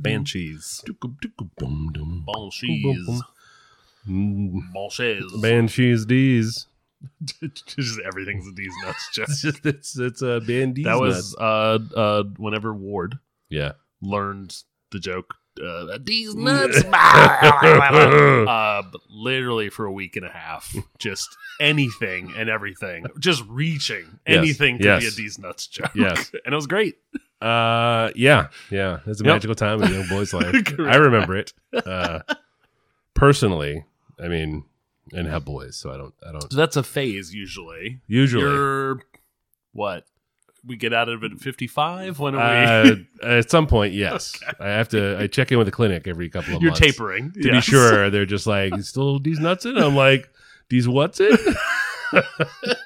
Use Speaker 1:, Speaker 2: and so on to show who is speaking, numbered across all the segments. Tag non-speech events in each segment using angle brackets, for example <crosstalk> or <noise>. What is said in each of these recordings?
Speaker 1: Banshees. Banshees. Banshees.
Speaker 2: Banshees
Speaker 1: <laughs>
Speaker 2: D's.
Speaker 1: just everything's a D's
Speaker 2: <laughs>
Speaker 1: nuts.
Speaker 2: It's
Speaker 1: Just
Speaker 2: just it's it's a uh, Bandees.
Speaker 1: that was uh uh whenever Ward
Speaker 2: yeah.
Speaker 1: learned the joke. Uh,
Speaker 2: <laughs>
Speaker 1: D's nuts. <laughs> uh, but literally for a week and a half, just anything and everything, just reaching
Speaker 2: Yes,
Speaker 1: anything to be a
Speaker 2: yes.
Speaker 1: D's nuts joke.
Speaker 2: Yes.
Speaker 1: <laughs> and it was great.
Speaker 2: <laughs> Uh, yeah, yeah. It's a
Speaker 1: Yep.
Speaker 2: magical time in a young
Speaker 1: <laughs>
Speaker 2: boy's life. I
Speaker 1: Correct.
Speaker 2: remember it. Uh, personally, I mean, and have boys, so I don't, I don't
Speaker 1: So that's a phase usually.
Speaker 2: usually.
Speaker 1: You're what? We get out of it at 55. When are
Speaker 2: uh, at some point,
Speaker 1: <laughs>
Speaker 2: yes, I have to. I check in with the clinic every couple
Speaker 1: we?
Speaker 2: of
Speaker 1: <laughs> You're
Speaker 2: months
Speaker 1: tapering.
Speaker 2: to be
Speaker 1: <laughs>
Speaker 2: sure. They're just like, "You still these nuts in? I'm like, these what's in? <laughs>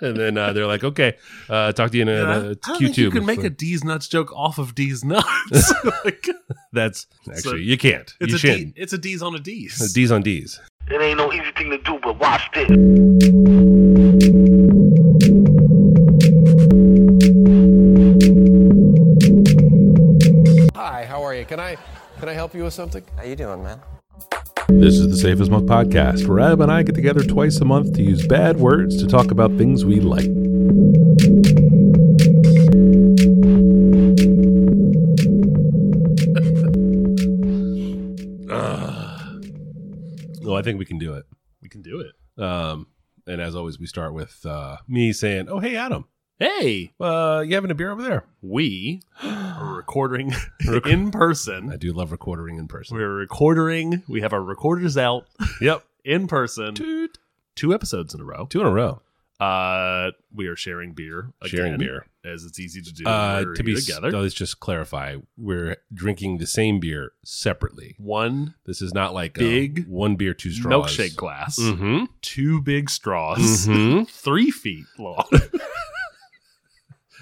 Speaker 2: and then uh, they're like, okay, uh, talk to you in
Speaker 1: Yeah, I
Speaker 2: a,
Speaker 1: don't
Speaker 2: a
Speaker 1: think
Speaker 2: Q
Speaker 1: you
Speaker 2: tube.
Speaker 1: can make a D's nuts joke off of D's nuts. <laughs> like,
Speaker 2: That's actually
Speaker 1: a-
Speaker 2: you can't.
Speaker 1: it's
Speaker 2: you
Speaker 1: a D,
Speaker 2: shouldn't. Uh,
Speaker 1: it's a D's on a D's.
Speaker 2: D's on D's.
Speaker 3: It ain't no easy thing to do, but watch this.
Speaker 4: Hi, how are you? Can I can I help you with something?
Speaker 5: How you doing, man?
Speaker 6: This is the Safest Month podcast, where Adam and I get together twice a month to use bad words to talk about things we
Speaker 2: <laughs>
Speaker 6: like.
Speaker 2: Well, I think we can do it.
Speaker 1: we can do it.
Speaker 2: Um, and as always, we start with uh, me saying, "Oh, hey, Adam,
Speaker 1: Hey,
Speaker 2: uh, you having a beer over there?"
Speaker 1: we
Speaker 2: <gasps>
Speaker 1: are recording in
Speaker 2: I
Speaker 1: person.
Speaker 2: do love recording in person.
Speaker 1: We're recording. We have our recorders out
Speaker 2: Yep,
Speaker 1: in person.
Speaker 2: Toot.
Speaker 1: Two episodes in a row.
Speaker 2: two in a row.
Speaker 1: Uh, we are sharing beer. Again,
Speaker 2: Sharing beer.
Speaker 1: as it's easy to do.
Speaker 2: Uh,
Speaker 1: We're
Speaker 2: to be
Speaker 1: together.
Speaker 2: together. let's just clarify: we're drinking the same beer separately.
Speaker 1: One
Speaker 2: This is not like a
Speaker 1: Big
Speaker 2: one beer, two straws.
Speaker 1: milkshake glass, <laughs>
Speaker 2: Mm-hmm.
Speaker 1: two big straws,
Speaker 2: hmm
Speaker 1: three feet
Speaker 2: <laughs>
Speaker 1: long.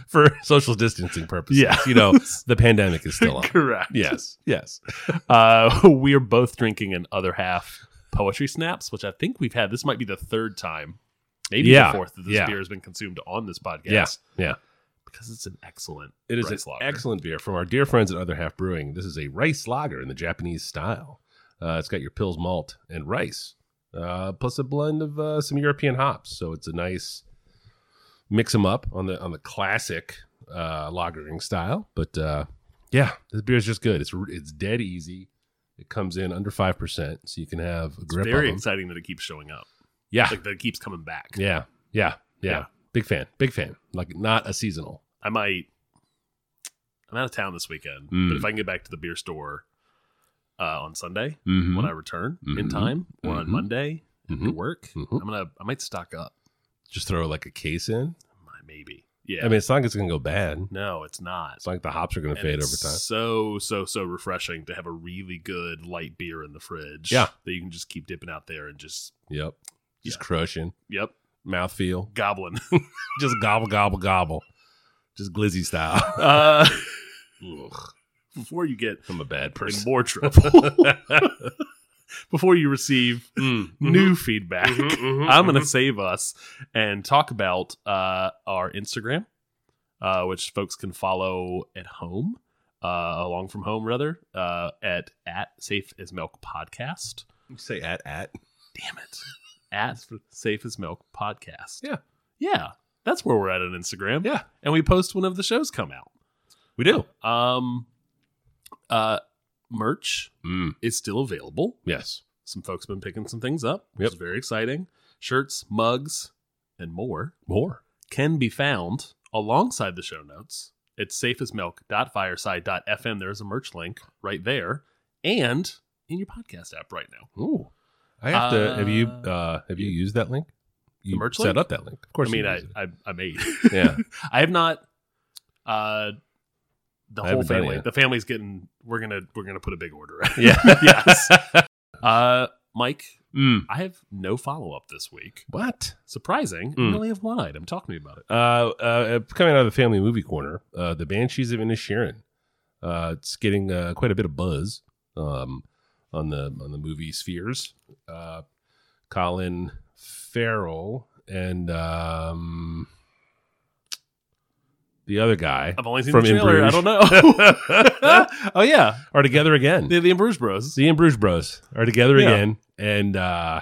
Speaker 2: For social distancing purposes.
Speaker 1: Yeah.
Speaker 2: You know, the pandemic is still on.
Speaker 1: Correct.
Speaker 2: Yes. Yes.
Speaker 1: Uh, <laughs> we are both drinking an other half poetry snaps, which I think we've had. This might be the third time, maybe
Speaker 2: Yeah.
Speaker 1: the fourth that this
Speaker 2: Yeah.
Speaker 1: beer has been consumed on this podcast.
Speaker 2: Yeah. Yeah.
Speaker 1: because it's an excellent.
Speaker 2: It is
Speaker 1: rice
Speaker 2: an
Speaker 1: lager.
Speaker 2: excellent beer from our dear friends at Other Half Brewing. This is a rice lager in the Japanese style. Uh, it's got your pills malt and rice, uh, plus a blend of uh, some European hops. So it's a nice mix them up on the on the classic uh, lagering style. But uh, yeah, this beer is just good. It's r- it's dead easy. It comes in under five percent, so you can have a grip.
Speaker 1: Very
Speaker 2: of 'em.
Speaker 1: exciting that it keeps
Speaker 2: <sighs>
Speaker 1: showing up.
Speaker 2: Yeah.
Speaker 1: Like that it keeps coming back.
Speaker 2: yeah, yeah, yeah,
Speaker 1: Yeah.
Speaker 2: Big fan, big fan. Like not a seasonal.
Speaker 1: I might. I'm out of town this weekend,
Speaker 2: Mm.
Speaker 1: but if I can get back to the beer store uh, on Sunday
Speaker 2: Mm-hmm.
Speaker 1: when I return in
Speaker 2: Mhm.
Speaker 1: time, or on
Speaker 2: Mhm.
Speaker 1: Monday after work,
Speaker 2: Mhm.
Speaker 1: I'm gonna. I might stock up.
Speaker 2: Just throw like a case in.
Speaker 1: My- Maybe. Yeah.
Speaker 2: I mean, it's not like it's gonna go bad.
Speaker 1: no, it's not.
Speaker 2: It's like the hops are going to
Speaker 1: And
Speaker 2: fade over
Speaker 1: it's
Speaker 2: time.
Speaker 1: So so so refreshing to have a really good light beer in the fridge.
Speaker 2: Yeah.
Speaker 1: that you can just keep dipping out there and just
Speaker 2: Yep. Just
Speaker 1: Yeah.
Speaker 2: crushing.
Speaker 1: yep
Speaker 2: Mouthfeel.
Speaker 1: goblin. <laughs>
Speaker 2: Just gobble, gobble, gobble. Just glizzy style. <laughs>
Speaker 1: Uh,
Speaker 2: Ugh,
Speaker 1: before you get
Speaker 2: I'm a bad
Speaker 1: in
Speaker 2: person. <laughs>
Speaker 1: more trouble, <laughs> before you receive
Speaker 2: Mm, mm-hmm.
Speaker 1: new feedback, <laughs> I'm going to save us and talk about uh, our Instagram, uh, which folks can follow at home, uh, along from home rather, uh, at at Safe as Milk Podcast.
Speaker 2: say at, at.
Speaker 1: Damn it. At Safe as Milk podcast.
Speaker 2: Yeah.
Speaker 1: Yeah. That's where we're at on Instagram.
Speaker 2: Yeah.
Speaker 1: And we post whenever the shows come out.
Speaker 2: We do.
Speaker 1: Um uh merch
Speaker 2: Mm.
Speaker 1: is still available.
Speaker 2: Yes.
Speaker 1: Some folks been picking some things up, which
Speaker 2: Yep.
Speaker 1: is very exciting. Shirts, mugs, and more
Speaker 2: More.
Speaker 1: can be found alongside the show notes. It's safeasmilk.fireside.fm. There's a merch link right there and in your podcast app right now.
Speaker 2: Ooh. I have to. Have you
Speaker 1: Uh,
Speaker 2: uh, have you used that link? You
Speaker 1: merch
Speaker 2: set
Speaker 1: link?
Speaker 2: up that link. Of course.
Speaker 1: I mean,
Speaker 2: you
Speaker 1: I,
Speaker 2: used it.
Speaker 1: I I made. <laughs>
Speaker 2: Yeah.
Speaker 1: I have not. Uh, the
Speaker 2: I
Speaker 1: whole
Speaker 2: haven't done it
Speaker 1: family.
Speaker 2: yet.
Speaker 1: The family's getting. We're gonna we're gonna put a big order.
Speaker 2: yeah.
Speaker 1: <laughs>
Speaker 2: <laughs>
Speaker 1: yes. Uh, Mike,
Speaker 2: Mm.
Speaker 1: I have no follow up this week.
Speaker 2: What?
Speaker 1: Surprising.
Speaker 2: Mm.
Speaker 1: I only have one item. Talk to me about it.
Speaker 2: Uh, uh, coming out of the family movie corner, uh, the Banshees of Inisherin. Uh, it's getting uh, quite a bit of buzz um, on the on the movie spheres. Uh, Colin Farrell and um, the other
Speaker 1: <laughs>
Speaker 2: guy
Speaker 1: I've only seen
Speaker 2: from
Speaker 1: the
Speaker 2: In
Speaker 1: trailer. I
Speaker 2: Bruges
Speaker 1: don't know. oh yeah,
Speaker 2: are together again.
Speaker 1: <laughs> the the In Bruges Bros.
Speaker 2: the In Bruges Bros are together
Speaker 1: Yeah.
Speaker 2: again, and uh,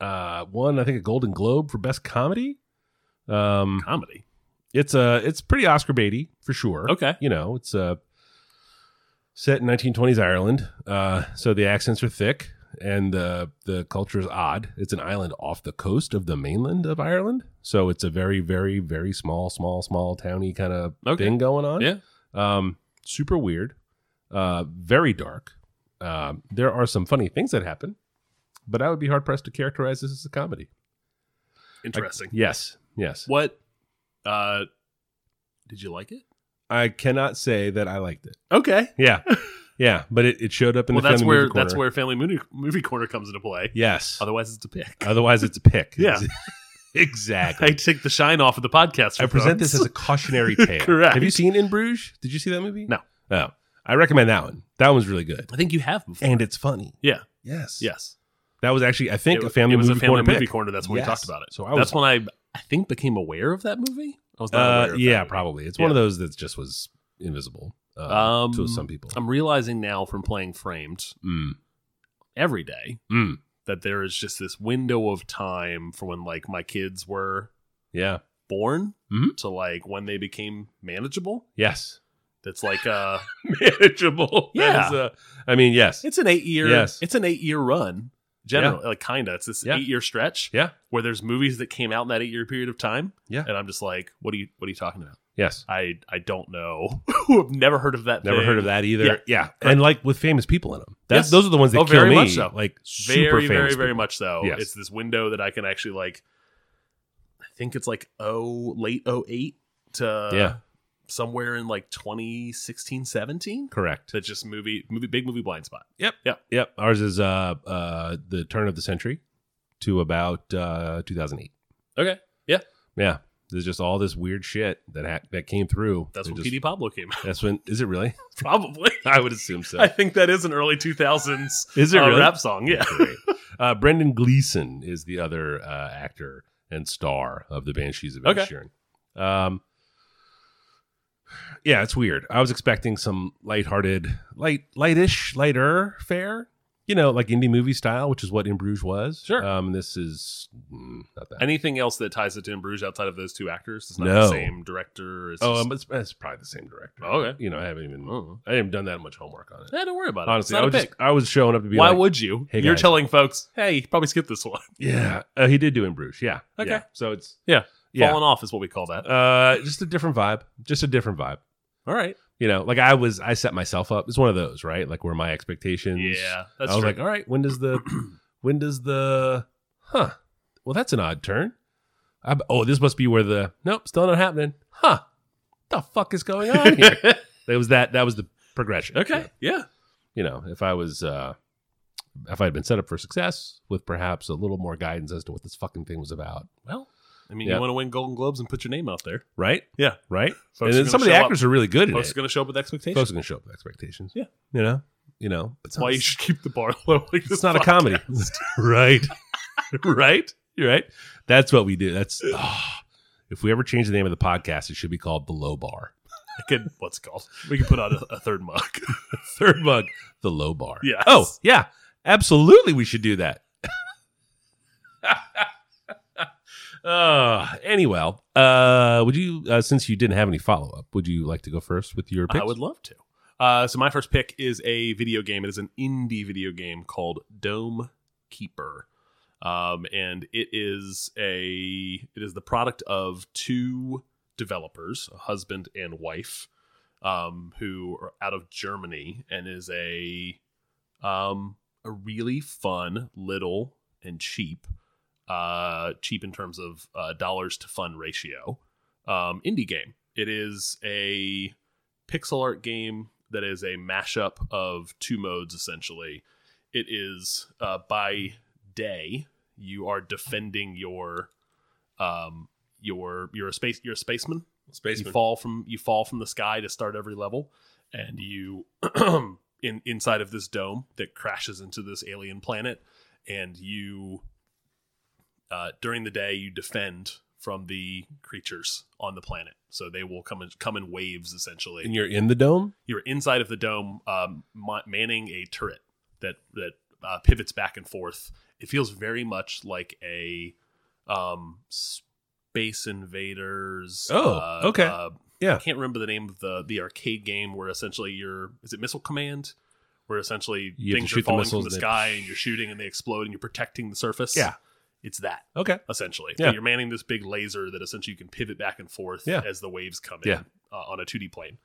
Speaker 2: uh, won I think a Golden Globe for best comedy. Um,
Speaker 1: Comedy.
Speaker 2: it's uh, it's pretty Oscar baity for sure.
Speaker 1: Okay.
Speaker 2: you know it's uh, set in 1920s Ireland, uh, so the accents are thick and the the culture is odd. It's an island off the coast of the mainland of Ireland, so it's a very very very small small small towny kind of
Speaker 1: Okay.
Speaker 2: thing going on.
Speaker 1: Yeah.
Speaker 2: Um, super weird, uh, very dark. Uh, there are some funny things that happen, but I would be hard pressed to characterize this as a comedy.
Speaker 1: Interesting.
Speaker 2: Yes, yes.
Speaker 1: What? Uh, did you like it?
Speaker 2: I cannot say that I liked it.
Speaker 1: Okay.
Speaker 2: Yeah, yeah, but it, it showed up in
Speaker 1: Well,
Speaker 2: the
Speaker 1: that's
Speaker 2: family
Speaker 1: where
Speaker 2: movie
Speaker 1: that's
Speaker 2: corner.
Speaker 1: where family movie, movie corner comes into play.
Speaker 2: Yes.
Speaker 1: Otherwise, it's a pick. <laughs>
Speaker 2: Otherwise, it's a pick.
Speaker 1: Yeah.
Speaker 2: <laughs> exactly.
Speaker 1: I take the shine off of the podcast.
Speaker 2: I present this as a
Speaker 1: <laughs>
Speaker 2: cautionary tale.
Speaker 1: Correct.
Speaker 2: Have you seen In Bruges? Did you see that movie?
Speaker 1: No.
Speaker 2: No. I recommend that one. That one's really good,
Speaker 1: I think you have before.
Speaker 2: and it's funny.
Speaker 1: yeah.
Speaker 2: Yes.
Speaker 1: Yes.
Speaker 2: That was actually, I think,
Speaker 1: it,
Speaker 2: a family
Speaker 1: it was
Speaker 2: movie
Speaker 1: a family
Speaker 2: corner
Speaker 1: movie
Speaker 2: pick.
Speaker 1: corner. That's when
Speaker 2: Yes.
Speaker 1: we talked about it.
Speaker 2: So I was-
Speaker 1: that's when I I think became aware of that movie. I was not aware.
Speaker 2: Uh,
Speaker 1: Of that
Speaker 2: yeah,
Speaker 1: movie.
Speaker 2: probably. It's
Speaker 1: Yeah.
Speaker 2: one of those that just was invisible uh,
Speaker 1: Um,
Speaker 2: to some people.
Speaker 1: I'm realizing now from playing Framed
Speaker 2: Mm.
Speaker 1: every day
Speaker 2: Mm.
Speaker 1: that there is just this window of time from when like my kids were
Speaker 2: Yeah.
Speaker 1: born
Speaker 2: Mhm.
Speaker 1: to like when they became manageable. <laughs>
Speaker 2: Yes.
Speaker 1: That's
Speaker 2: <laughs>
Speaker 1: like uh
Speaker 2: Manageable.
Speaker 1: Yeah.
Speaker 2: That is, uh, I mean, yes.
Speaker 1: it's an eight year
Speaker 2: Yes.
Speaker 1: it's an eight year run. Generally, like kinda. It's this
Speaker 2: Yeah.
Speaker 1: eight year stretch
Speaker 2: Yeah.
Speaker 1: where there's movies that came out in that eight year period of time.
Speaker 2: Yeah.
Speaker 1: And I'm just like, what are you what are you talking about?
Speaker 2: Yes.
Speaker 1: I I don't know. <laughs> I've never heard of that
Speaker 2: Never
Speaker 1: thing.
Speaker 2: heard of that either.
Speaker 1: Yeah.
Speaker 2: And like with famous people in them. That's,
Speaker 1: Yes.
Speaker 2: Those are the ones that
Speaker 1: Oh,
Speaker 2: kill
Speaker 1: very
Speaker 2: me.
Speaker 1: much so.
Speaker 2: Like super
Speaker 1: very,
Speaker 2: famous
Speaker 1: very, very
Speaker 2: people.
Speaker 1: much so.
Speaker 2: Yes.
Speaker 1: It's this window that I can actually like. I think it's like oh late oh eight to
Speaker 2: yeah.
Speaker 1: somewhere in like 2016, 17.
Speaker 2: Correct.
Speaker 1: To just movie, movie, big movie blind spot.
Speaker 2: Yep. Ours is uh uh the turn of the century to about uh 2008.
Speaker 1: Okay. Yeah.
Speaker 2: Yeah. There's just all this weird shit that ha- that came through.
Speaker 1: That's
Speaker 2: It
Speaker 1: when
Speaker 2: just-
Speaker 1: PD Pablo came out. <laughs>
Speaker 2: That's when is it really?
Speaker 1: Probably.
Speaker 2: <laughs> I would assume so.
Speaker 1: I think that is an early 2000s
Speaker 2: <laughs> Is it
Speaker 1: uh,
Speaker 2: really?
Speaker 1: rap song. Yeah.
Speaker 2: Great. Uh, Brendan Gleeson is the other uh, actor and star of the Banshees of
Speaker 1: Okay.
Speaker 2: Inisherin. Um, yeah, it's weird. I was expecting some lighthearted, light, lightish, lighter fare. You know, like indie movie style, which is what In Bruges was.
Speaker 1: Sure.
Speaker 2: Um, this is mm, not that.
Speaker 1: Anything else that ties it to In Bruges outside of those two actors? It's not
Speaker 2: No.
Speaker 1: the same director. It's
Speaker 2: oh,
Speaker 1: just-
Speaker 2: um, it's, it's probably the same director.
Speaker 1: Okay.
Speaker 2: You know, I haven't even
Speaker 1: Oh.
Speaker 2: I haven't done that much homework on it.
Speaker 1: Yeah, eh, don't worry about
Speaker 2: Honestly,
Speaker 1: it.
Speaker 2: I was
Speaker 1: It's not a
Speaker 2: just,
Speaker 1: pick.
Speaker 2: I was showing up to be
Speaker 1: Why
Speaker 2: like,
Speaker 1: would you?
Speaker 2: "Hey,
Speaker 1: You're
Speaker 2: guys."
Speaker 1: telling folks, hey, you probably skip this one. <laughs>
Speaker 2: yeah, uh, he did do In Bruges. Yeah.
Speaker 1: Okay.
Speaker 2: Yeah. So it's
Speaker 1: Yeah.
Speaker 2: yeah.
Speaker 1: Falling off is what we call that.
Speaker 2: Uh, just a different vibe. Just a different vibe.
Speaker 1: All right.
Speaker 2: You know, like I was, I set myself up. It's one of those, right? Like where my expectations.
Speaker 1: Yeah, that's
Speaker 2: I was
Speaker 1: true.
Speaker 2: like, "Oh, all right, when does
Speaker 1: <clears throat>
Speaker 2: the, when does the, huh? Well, that's an odd turn. I, oh, this must be where the nope, still not happening. Huh? The fuck is going on
Speaker 1: <laughs>
Speaker 2: here? that was that. That was the progression.
Speaker 1: okay. Yeah.
Speaker 2: You know, if I was, uh if I had been set up for success with perhaps a little more guidance as to what this fucking thing was about,
Speaker 1: Well, I mean,
Speaker 2: Yeah.
Speaker 1: you want to win Golden Globes and put your name out there.
Speaker 2: right?
Speaker 1: Yeah.
Speaker 2: Right.
Speaker 1: Folks
Speaker 2: and
Speaker 1: are
Speaker 2: then
Speaker 1: gonna
Speaker 2: some of the
Speaker 1: show up.
Speaker 2: actors are really good. in
Speaker 1: Folks
Speaker 2: it.
Speaker 1: are going to show up with expectations.
Speaker 2: folks are gonna show up with expectations.
Speaker 1: Yeah.
Speaker 2: you know, you know. It's <laughs>
Speaker 1: That's why you should keep the bar <laughs> low. Like
Speaker 2: It's not a comedy, <laughs> right? right? You're right. That's what we do.
Speaker 1: <laughs>
Speaker 2: That's ah. if we ever change the name of the podcast, it should be called The Low Bar.
Speaker 1: I could, what's it called? We could put out a, a
Speaker 2: <laughs>
Speaker 1: third mug.
Speaker 2: Third mug, The Low Bar.
Speaker 1: Yes.
Speaker 2: Oh yeah, absolutely. We should do that. <laughs> uh anyway uh would you uh since you didn't have any follow-up would you like to go first with your picks?
Speaker 1: I would love to. Uh, so my first pick is a video game. It is an indie video game called Dome Keeper, um, and it is a it is the product of two developers, a husband and wife, um, who are out of Germany, and is a um, a really fun little and cheap, uh, cheap in terms of uh, dollars to fun ratio, um, indie game. It is a pixel art game that is a mashup of two modes essentially. It is uh, by day you are defending your um your you're a space you're a spaceman.
Speaker 2: Spaceman.
Speaker 1: You fall from you fall from the sky to start every level and you <clears throat> in inside of this dome that crashes into this alien planet and you uh, during the day you defend from the creatures on the planet. So they will come in, come in waves essentially.
Speaker 2: And you're in the dome?
Speaker 1: you're inside of the dome, um, ma- manning a turret that that uh, pivots back and forth. It feels very much like a um, Space Invaders.
Speaker 2: Oh,
Speaker 1: uh,
Speaker 2: okay.
Speaker 1: uh,
Speaker 2: Yeah.
Speaker 1: I can't remember the name of the the arcade game where essentially you're is it Missile Command, where essentially
Speaker 2: You have to
Speaker 1: things
Speaker 2: shoot
Speaker 1: are
Speaker 2: the
Speaker 1: falling
Speaker 2: missiles
Speaker 1: from
Speaker 2: and
Speaker 1: the
Speaker 2: they-
Speaker 1: sky and you're shooting and they explode and you're protecting the surface.
Speaker 2: Yeah.
Speaker 1: it's that
Speaker 2: Okay.
Speaker 1: essentially.
Speaker 2: Yeah.
Speaker 1: You're manning this big laser that essentially you can pivot back and forth
Speaker 2: Yeah.
Speaker 1: as the waves come
Speaker 2: Yeah.
Speaker 1: in uh, on a 2D plane.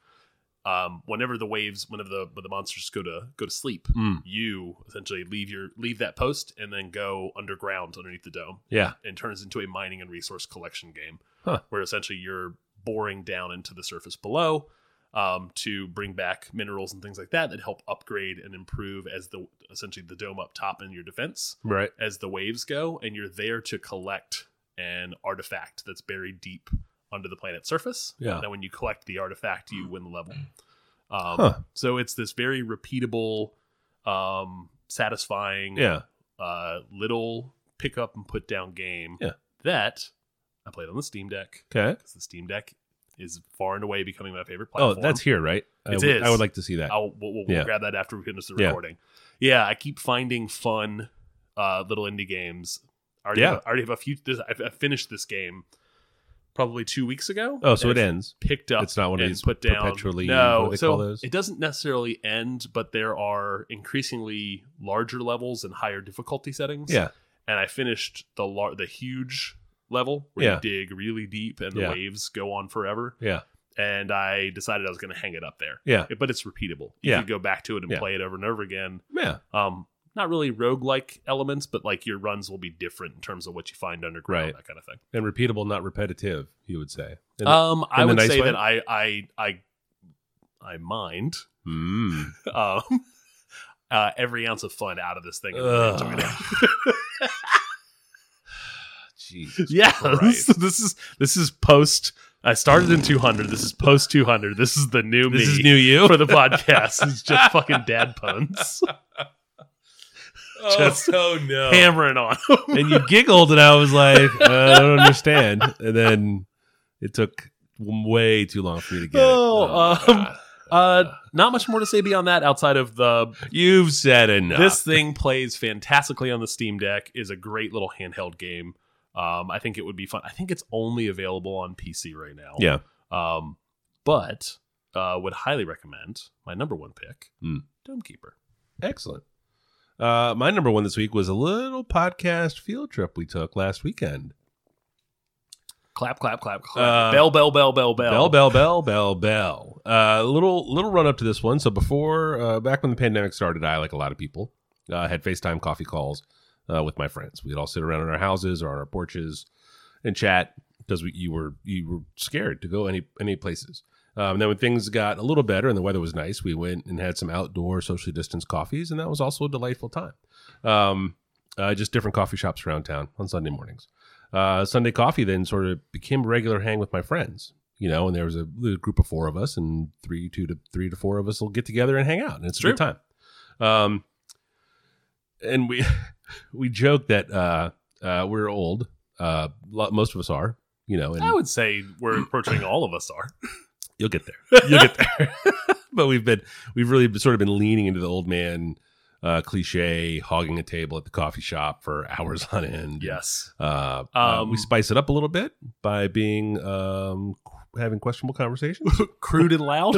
Speaker 1: Um, whenever the waves, whenever the when the monsters go to go to sleep,
Speaker 2: Mm.
Speaker 1: you essentially leave your leave that post and then go underground underneath the dome
Speaker 2: Yeah.
Speaker 1: and turns into a mining and resource collection game,
Speaker 2: Huh.
Speaker 1: where essentially you're boring down into the surface below um, to bring back minerals and things like that that help upgrade and improve as the essentially the dome up top and your defense
Speaker 2: Right.
Speaker 1: as the waves go, and you're there to collect an artifact that's buried deep under the planet's surface.
Speaker 2: Yeah.
Speaker 1: And then when you collect the artifact, you win the level. Um,
Speaker 2: Huh.
Speaker 1: So it's this very repeatable, um, satisfying,
Speaker 2: Yeah.
Speaker 1: uh, little pick up and put down game
Speaker 2: Yeah.
Speaker 1: that I played on the Steam Deck
Speaker 2: Okay.
Speaker 1: because the Steam Deck is far and away becoming my favorite
Speaker 2: Oh,
Speaker 1: platform.
Speaker 2: that's here, right? I
Speaker 1: It
Speaker 2: would-
Speaker 1: is.
Speaker 2: I would like to see that.
Speaker 1: <laughs> I'll we'll, we'll we'll
Speaker 2: Yeah.
Speaker 1: grab that after we finish the
Speaker 2: Yeah.
Speaker 1: recording. Yeah, I keep finding fun uh, little indie games. I already
Speaker 2: Yeah.
Speaker 1: have, I already have a few. This, I, I finished this game probably two weeks ago.
Speaker 2: oh, so it
Speaker 1: And it's
Speaker 2: ends.
Speaker 1: Picked up.
Speaker 2: It's not one of
Speaker 1: and
Speaker 2: these
Speaker 1: put down.
Speaker 2: perpetually-
Speaker 1: No,
Speaker 2: what do they
Speaker 1: so
Speaker 2: call those?
Speaker 1: it doesn't necessarily end, but there are increasingly larger levels and higher difficulty settings.
Speaker 2: Yeah.
Speaker 1: and I finished the lar- the huge level where
Speaker 2: Yeah.
Speaker 1: you dig really deep and
Speaker 2: Yeah.
Speaker 1: the waves go on forever.
Speaker 2: Yeah.
Speaker 1: And I decided I was going to hang it up there
Speaker 2: Yeah.
Speaker 1: it- but it's repeatable. You
Speaker 2: Yeah.
Speaker 1: could go back to it and
Speaker 2: Yeah.
Speaker 1: play it over and over again.
Speaker 2: Yeah.
Speaker 1: Um, not really roguelike elements, but like your runs will be different in terms of what you find underground,
Speaker 2: Right.
Speaker 1: that kind of thing.
Speaker 2: And repeatable, not repetitive, you would say. And-
Speaker 1: um,
Speaker 2: and
Speaker 1: I
Speaker 2: the
Speaker 1: would
Speaker 2: nice
Speaker 1: say
Speaker 2: way?
Speaker 1: that I I I I mind <laughs>
Speaker 2: <laughs> Mm.
Speaker 1: um, uh, every ounce of fun out of this thing.
Speaker 2: <sighs> Jeez.
Speaker 1: <laughs> yeah, this,
Speaker 2: Christ.
Speaker 1: this is this is post. I started in 200. This is post 200. This is the new
Speaker 2: <laughs>
Speaker 1: me.
Speaker 2: This is new Oh. you.
Speaker 1: <laughs> for the podcast. it's just fucking dad puns Just-
Speaker 2: <laughs> oh no.
Speaker 1: hammering on. 'em.
Speaker 2: and you giggled, and I was like, uh, I don't understand. And then it took way too long for me to get it.
Speaker 1: <laughs> Oh,
Speaker 2: my
Speaker 1: um,
Speaker 2: God.
Speaker 1: Uh, not much more to say beyond that outside of the
Speaker 2: you've said enough.
Speaker 1: this thing plays fantastically on the Steam Deck is a great little handheld game. Um, I think it would be fun. I think it's only available on PC right now.
Speaker 2: yeah.
Speaker 1: Um, but uh, would highly recommend my number one pick,
Speaker 2: Hmm.
Speaker 1: Dome Keeper.
Speaker 2: Excellent. Uh, my number one this week was a little podcast field trip we took last weekend.
Speaker 1: Clap, clap, clap, clap.
Speaker 2: Uh,
Speaker 1: bell, bell, bell, bell, bell,
Speaker 2: Bell, bell, bell, bell, bell. Uh, little little run up to this one. So before, uh, back when the pandemic started, I, like a lot of people, uh, had FaceTime coffee calls uh, with my friends. We'd all sit around in our houses or on our porches and chat because we, you were you were scared to go any any places. Um, and then when things got a little better and the weather was nice, we went and had some outdoor socially distanced coffees, and that was also a delightful time. Um, uh, just different coffee shops around town on Sunday mornings. Uh, Sunday coffee then sort of became a regular hang with my friends, you know, and there was a, a group of four of us, and three, two to three to four of us will get together and hang out, and it's a good time. Um, and we <laughs> we joke that uh, uh, we're old. Uh, lo- most of us are, you know, and
Speaker 1: I would say we're approaching all of us are.
Speaker 2: You'll get there. You'll get there. <laughs> but we've been we've really sort of been leaning into the old man uh, cliche, hogging a table at the coffee shop for <laughs> hours on end.
Speaker 1: <laughs> Yes.
Speaker 2: Uh, uh,
Speaker 1: Um,
Speaker 2: we spice it up a little bit by being um, qu- having questionable conversations.
Speaker 1: <laughs> Crude and loud.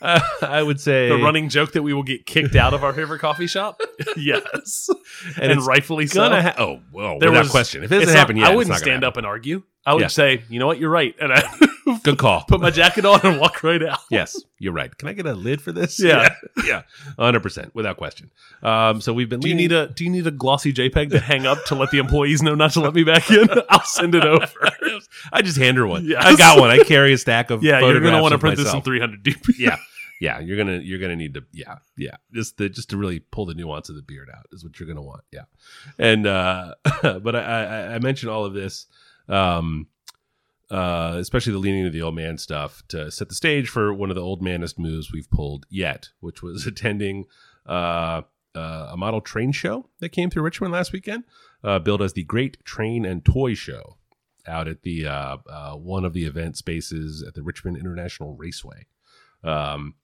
Speaker 2: uh, I would say
Speaker 1: the running joke that we will get kicked out of our favorite coffee shop. <laughs> yes,
Speaker 2: And
Speaker 1: and,
Speaker 2: it's
Speaker 1: rightfully so.
Speaker 2: gonna ha- oh well,
Speaker 1: There
Speaker 2: there without
Speaker 1: was-
Speaker 2: question. If it
Speaker 1: It's
Speaker 2: hasn't
Speaker 1: not-
Speaker 2: happened yet,
Speaker 1: I
Speaker 2: it's
Speaker 1: wouldn't
Speaker 2: not gonna
Speaker 1: stand
Speaker 2: happen.
Speaker 1: up and argue. I would
Speaker 2: Yeah.
Speaker 1: say, you know what, you're right, and I <laughs>
Speaker 2: Good call.
Speaker 1: put my jacket on and walk right out.
Speaker 2: <laughs> yes, you're right. Can I get a lid for this?
Speaker 1: Yeah.
Speaker 2: <laughs> yeah, hundred percent, without question. Um, so we've been.
Speaker 1: Do you
Speaker 2: leaning-
Speaker 1: need a Do you need a glossy JPEG to hang up to let the employees know not to let me back in? <laughs> I'll
Speaker 2: <laughs>
Speaker 1: send it over. <laughs>
Speaker 2: I just hand her one.
Speaker 1: Yes.
Speaker 2: I got one. I carry a stack of.
Speaker 1: Yeah, you're gonna
Speaker 2: going to
Speaker 1: want to print this in 300 DP.
Speaker 2: Yeah. Yeah, you're gonna you're gonna need to yeah yeah just the just to really pull the nuance of the beard out is what you're gonna want yeah, and uh <laughs> but I, I I mentioned all of this, um, uh especially the leaning of the old man stuff to set the stage for one of the old manist moves we've pulled yet, which was <laughs> attending uh, uh a model train show that came through Richmond last weekend, uh, billed as the Great Train and Toy Show. out at the uh, uh, one of the event spaces at the Richmond International Raceway. Um,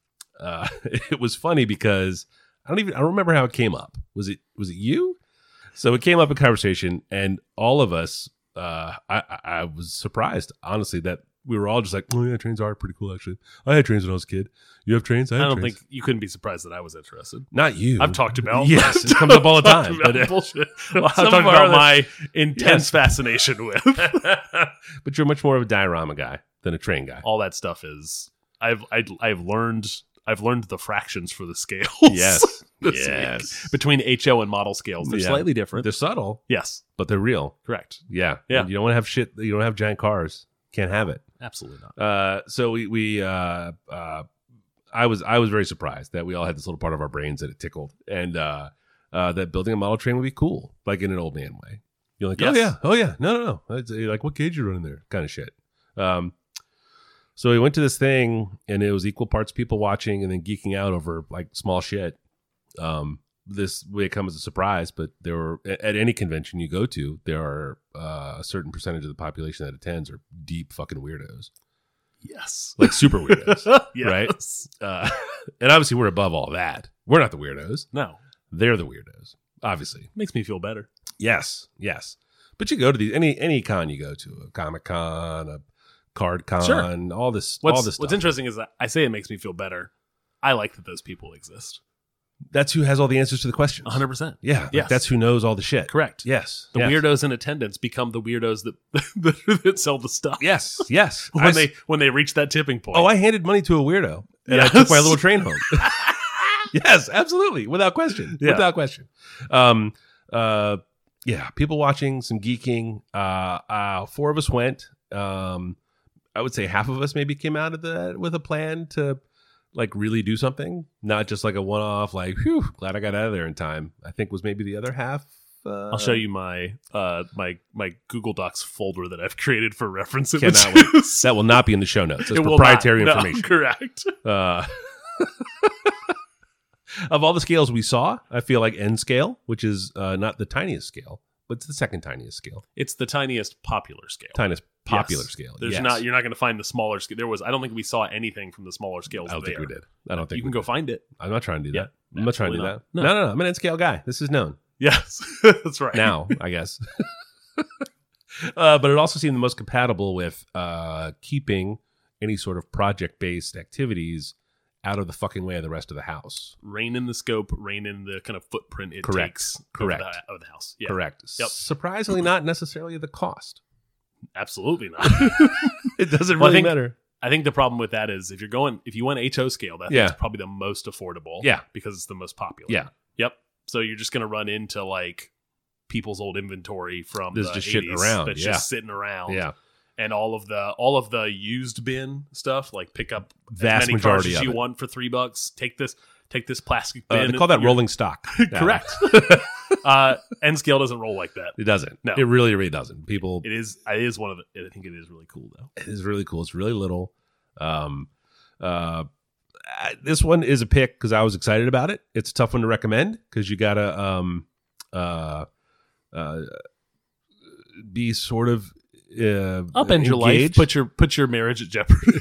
Speaker 2: uh, <laughs> it was funny because I don't even I don't remember how it came up. Was it was it you? So it came up in conversation, and all of us, uh, I, I- I was surprised honestly that we were all just like, "Oh yeah, trains are pretty cool actually." I had trains when I was a kid. You have trains? I,
Speaker 1: <laughs> I
Speaker 2: had
Speaker 1: don't
Speaker 2: trains.
Speaker 1: think you couldn't be surprised that I was interested.
Speaker 2: not you.
Speaker 1: I've talked about <laughs>
Speaker 2: Yes, it comes up all the
Speaker 1: I've
Speaker 2: time,
Speaker 1: talked about
Speaker 2: but, uh,
Speaker 1: <laughs> bullshit.
Speaker 2: Well,
Speaker 1: I've
Speaker 2: I've
Speaker 1: talked
Speaker 2: talked
Speaker 1: about
Speaker 2: about
Speaker 1: my intense
Speaker 2: Yes.
Speaker 1: fascination <laughs> with
Speaker 2: but you're much more of a diorama guy than a train guy.
Speaker 1: all that stuff. Is I've I, I've learned I've learned the fractions for the scales.
Speaker 2: Yes,
Speaker 1: <laughs> this week.
Speaker 2: yes.
Speaker 1: between HO and model scales, they're
Speaker 2: Yeah.
Speaker 1: slightly different.
Speaker 2: They're subtle,
Speaker 1: yes,
Speaker 2: but they're real.
Speaker 1: correct.
Speaker 2: Yeah,
Speaker 1: Yeah.
Speaker 2: And you don't want to have shit. You don't have giant cars. Can't have it.
Speaker 1: Absolutely not.
Speaker 2: Uh, so we we uh, uh, I was I was very surprised that we all had this little part of our brains that it tickled, and uh, uh, that building a model train would be cool, like in an old man way. You're like,
Speaker 1: Yes.
Speaker 2: oh yeah, oh yeah, no no no, It's, uh, like what cage you running there, kind of shit. Um, so we went to this thing, and it was equal parts people watching and then geeking out over like small shit. Um, this may come as a surprise, but there were a- at any convention you go to, there are uh, a certain percentage of the population that attends are deep fucking weirdos
Speaker 1: <laughs> Yes,
Speaker 2: like super weirdos. right?
Speaker 1: Yes.
Speaker 2: uh, and obviously, we're above all that. We're not the weirdos.
Speaker 1: No,
Speaker 2: They're the weirdos, obviously.
Speaker 1: makes me feel better.
Speaker 2: Yes, yes. But you go to these any any con you go to a comic con, a card con,
Speaker 1: Sure.
Speaker 2: all this
Speaker 1: What's,
Speaker 2: all this stuff.
Speaker 1: what's interesting is that I say it makes me feel better. I like that those people exist.
Speaker 2: that's who has all the answers to the questions.
Speaker 1: 100%.
Speaker 2: Yeah, like,
Speaker 1: Yes.
Speaker 2: that's who knows all the shit.
Speaker 1: Correct.
Speaker 2: Yes,
Speaker 1: The
Speaker 2: yes.
Speaker 1: weirdos in attendance become the weirdos that <laughs> that sell the stuff.
Speaker 2: Yes,
Speaker 1: <laughs>
Speaker 2: yes.
Speaker 1: When
Speaker 2: I s-
Speaker 1: they when they reach that tipping point.
Speaker 2: oh, I handed money to a weirdo and
Speaker 1: Yes.
Speaker 2: I took my little train
Speaker 1: <laughs>
Speaker 2: home. <laughs> yes, absolutely, without question,
Speaker 1: Yeah.
Speaker 2: without question. Um, uh, yeah, people watching, some geeking. Uh, uh, four of us went. Um, I would say half of us maybe came out of that with a plan to like really do something, not just like a one-off. Like, whew, glad I got out of there in time. I think was maybe the other half. Uh,
Speaker 1: I'll show you my uh my my Google Docs folder that I've created for reference images.
Speaker 2: Cannot that will not be in the show notes. It's
Speaker 1: It will
Speaker 2: proprietary
Speaker 1: not. No, <laughs>
Speaker 2: information.
Speaker 1: correct.
Speaker 2: Uh, <laughs> of all the scales we saw, I feel like N scale, which is uh, not the tiniest scale, but it's the second tiniest scale,
Speaker 1: It's the tiniest popular scale.
Speaker 2: tiniest popular
Speaker 1: Yes.
Speaker 2: scale.
Speaker 1: There's
Speaker 2: yes.
Speaker 1: not you're not going to find the smaller scale. There was I don't think we saw anything from the smaller scales
Speaker 2: I don't
Speaker 1: there.
Speaker 2: think we did. I don't think
Speaker 1: you can
Speaker 2: we
Speaker 1: go
Speaker 2: did.
Speaker 1: find it. <laughs>
Speaker 2: I'm not trying to do
Speaker 1: Yeah,
Speaker 2: that. I'm not trying to do
Speaker 1: absolutely
Speaker 2: that.
Speaker 1: not.
Speaker 2: No.
Speaker 1: No.
Speaker 2: no, no, I'm an N scale guy. This is known
Speaker 1: Yes. That's right.
Speaker 2: now,
Speaker 1: <laughs>
Speaker 2: I guess. <laughs> uh, but it also seemed the most compatible with uh, keeping any sort of project based activities out of the fucking way of the rest of the house.
Speaker 1: rein in the scope, rein in the kind of footprint it
Speaker 2: Correct.
Speaker 1: takes of
Speaker 2: Correct.
Speaker 1: the- of the house. Yeah,
Speaker 2: Correct.
Speaker 1: Yep.
Speaker 2: Surprisingly, not necessarily the cost. <laughs>
Speaker 1: Absolutely not.
Speaker 2: It doesn't
Speaker 1: Well, I think-
Speaker 2: matter.
Speaker 1: I think the problem with that is if you're going if you went HO scale, that's
Speaker 2: Yeah.
Speaker 1: probably the most affordable.
Speaker 2: Yeah.
Speaker 1: Because it's the most popular.
Speaker 2: Yeah.
Speaker 1: Yep. So you're just gonna run into like people's old inventory from
Speaker 2: That's
Speaker 1: the
Speaker 2: just shitting
Speaker 1: 80s
Speaker 2: around,
Speaker 1: That's
Speaker 2: yeah.
Speaker 1: just sitting around.
Speaker 2: Yeah.
Speaker 1: And all of the all of the used bin stuff, like pick up
Speaker 2: Vast
Speaker 1: as many cars
Speaker 2: majority
Speaker 1: as
Speaker 2: of
Speaker 1: you
Speaker 2: it.
Speaker 1: want for three bucks. Take this take this plastic
Speaker 2: Uh,
Speaker 1: bin.
Speaker 2: they call that
Speaker 1: You're- <laughs>
Speaker 2: rolling stock. now. <laughs>
Speaker 1: Correct. uh N scale doesn't roll like that.
Speaker 2: It doesn't.
Speaker 1: No.
Speaker 2: It really, really doesn't. People,
Speaker 1: It is it is one of the I think it is really cool though.
Speaker 2: it is really cool. It's really little. Um, uh, I- this one is a pick because I was excited about it. It's a tough one to recommend because you gotta um, uh, uh, be sort of uh,
Speaker 1: upend your life,
Speaker 2: engaged
Speaker 1: put your put your marriage at jeopardy.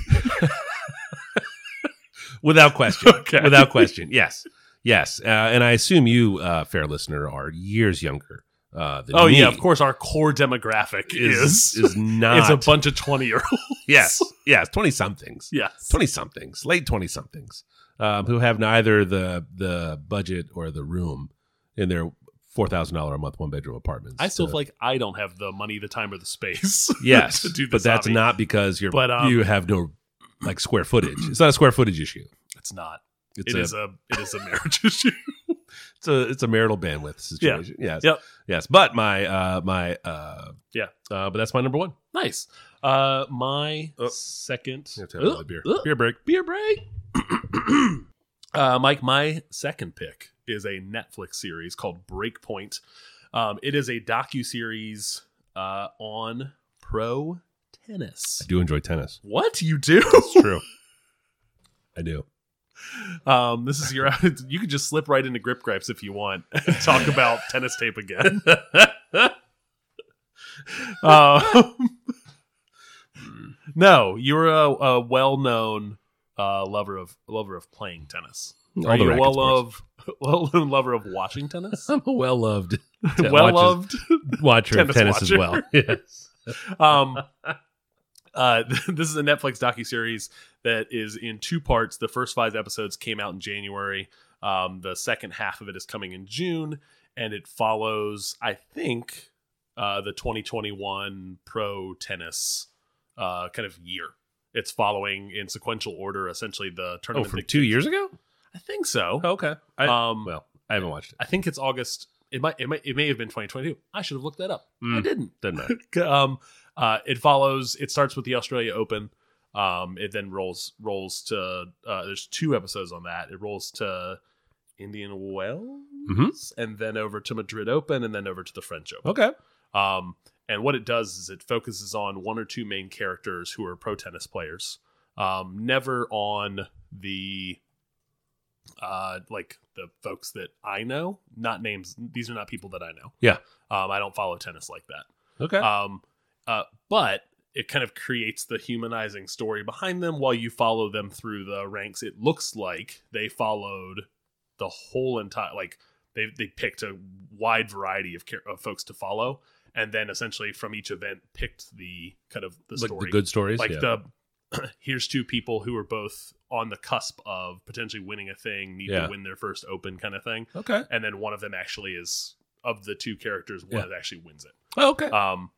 Speaker 2: without question.
Speaker 1: <laughs> Okay.
Speaker 2: Without question. Yes. Yes. Uh, and I assume you, uh, fair listener, are years younger. Uh, than
Speaker 1: oh
Speaker 2: me.
Speaker 1: yeah, of course. Our core demographic is
Speaker 2: Is
Speaker 1: <laughs> is,
Speaker 2: is not
Speaker 1: a bunch of twenty year olds.
Speaker 2: Yes, yes, twenty somethings,
Speaker 1: <laughs> yes.
Speaker 2: twenty somethings, late twenty somethings, um, who have neither the the budget or the room in their four thousand dollar a month one bedroom apartments.
Speaker 1: I still
Speaker 2: to-
Speaker 1: feel like I don't have the money, the time, or the space.
Speaker 2: <laughs>
Speaker 1: <laughs>
Speaker 2: yes,
Speaker 1: to do this
Speaker 2: but that's
Speaker 1: hobby.
Speaker 2: not because you're
Speaker 1: But, um,
Speaker 2: you have no like square footage. It's not a square footage issue.
Speaker 1: It's not.
Speaker 2: It's
Speaker 1: It's
Speaker 2: a,
Speaker 1: a, it is a marriage <laughs> issue.
Speaker 2: it's a it's a marital bandwidth situation. Yes,
Speaker 1: Yep.
Speaker 2: yes. But my uh my uh
Speaker 1: Yeah.
Speaker 2: uh, but that's my number one.
Speaker 1: Nice. Uh, my
Speaker 2: Oh.
Speaker 1: second
Speaker 2: You have to have another
Speaker 1: Oh,
Speaker 2: beer.
Speaker 1: oh,
Speaker 2: Beer break.
Speaker 1: beer break. <clears throat> uh, Mike, my second pick is a Netflix series called Breakpoint. Um, it is a docu series uh, on pro tennis.
Speaker 2: I do enjoy tennis.
Speaker 1: What you do? <laughs>
Speaker 2: It's true. I do.
Speaker 1: Um, this is your. <laughs> You could just slip right into <laughs> grip gripes if you want. and Talk about tennis tape again. <laughs> Um, <laughs> no, you're a, a well-known uh, lover of lover of playing tennis.
Speaker 2: All
Speaker 1: Are
Speaker 2: the
Speaker 1: you a
Speaker 2: racket sports.
Speaker 1: well-loved <laughs> well-known lover of
Speaker 2: <laughs>
Speaker 1: watching tennis?
Speaker 2: I'm a well loved,
Speaker 1: well-loved.
Speaker 2: watcher of tennis
Speaker 1: tennis
Speaker 2: as well.
Speaker 1: <laughs> watcher.
Speaker 2: Yes.
Speaker 1: Um, <laughs> uh, <laughs> this is a Netflix docuseries that is in two parts. The first five episodes came out in January. Um, the second half of it is coming in June, and it follows, I think, uh, the 2021 pro tennis uh, kind of year. It's following in sequential order, essentially the
Speaker 2: Oh,
Speaker 1: tournament.
Speaker 2: from
Speaker 1: that-
Speaker 2: two years ago? Oh,
Speaker 1: I think so.
Speaker 2: Okay. I,
Speaker 1: um,
Speaker 2: well, I haven't watched it.
Speaker 1: I think it's August. It might, it might, it may have been 2022. I should have looked that up. I
Speaker 2: Mm.
Speaker 1: didn't
Speaker 2: Doesn't
Speaker 1: <laughs>
Speaker 2: matter.
Speaker 1: um, uh, it follows. It starts with the Australia Open. Um, it then rolls rolls to. Uh, there's two episodes on that. It rolls to Indian Wells,
Speaker 2: Mm-hmm.
Speaker 1: and then over to Madrid Open, and then over to the French Open.
Speaker 2: Okay.
Speaker 1: Um, and what it does is it focuses on one or two main characters who are pro tennis players, um, never on the uh, like the folks that I know. Not names. These are not people that I know.
Speaker 2: Yeah.
Speaker 1: Um, I don't follow tennis like that.
Speaker 2: Okay.
Speaker 1: Um, uh, but it kind of creates the humanizing story behind them while you follow them through the ranks. It looks like they followed the whole entire like they they picked a wide variety of, char- of folks to follow, and then essentially from each event picked the kind of the
Speaker 2: like
Speaker 1: story,
Speaker 2: the good stories.
Speaker 1: like
Speaker 2: yeah.
Speaker 1: the <clears throat> here's two people who are both on the cusp of potentially winning a thing, need
Speaker 2: Yeah.
Speaker 1: to win their first open kind of thing,
Speaker 2: okay.
Speaker 1: and then one of them actually is of the two characters, one
Speaker 2: Yeah.
Speaker 1: that actually wins it.
Speaker 2: Oh, okay.
Speaker 1: Um,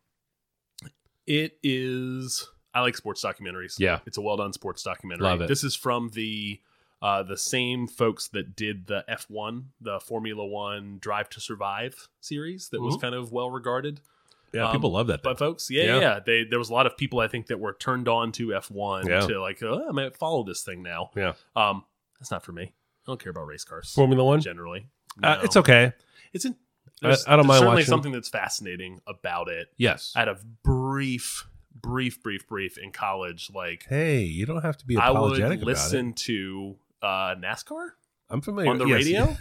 Speaker 1: it is. I like sports documentaries.
Speaker 2: Yeah.
Speaker 1: it's a well done sports documentary.
Speaker 2: Love it.
Speaker 1: This is from the uh, the same folks that did the F one, the Formula One Drive to Survive series that was
Speaker 2: Mhm.
Speaker 1: kind of well regarded
Speaker 2: yeah,
Speaker 1: um,
Speaker 2: people love that.
Speaker 1: by
Speaker 2: But,
Speaker 1: folks. Yeah,
Speaker 2: Yeah.
Speaker 1: yeah, They there was a lot of people I think that were turned on to F one
Speaker 2: Yeah.
Speaker 1: to like, oh, I might follow this thing now.
Speaker 2: Yeah.
Speaker 1: Um, that's not for me. I don't care about race cars
Speaker 2: Formula One.
Speaker 1: generally.
Speaker 2: Uh,
Speaker 1: No.
Speaker 2: it's okay.
Speaker 1: It's in.
Speaker 2: I-
Speaker 1: there's-
Speaker 2: I don't
Speaker 1: there's
Speaker 2: mind
Speaker 1: certainly
Speaker 2: watching.
Speaker 1: something that's fascinating about it
Speaker 2: Yes.
Speaker 1: at a brief, brief, brief, brief in college, like
Speaker 2: hey, you don't have to be
Speaker 1: I would
Speaker 2: apologetic about it.
Speaker 1: listen to uh, NASCAR
Speaker 2: I'm familiar
Speaker 1: on the
Speaker 2: yes. <laughs>
Speaker 1: radio.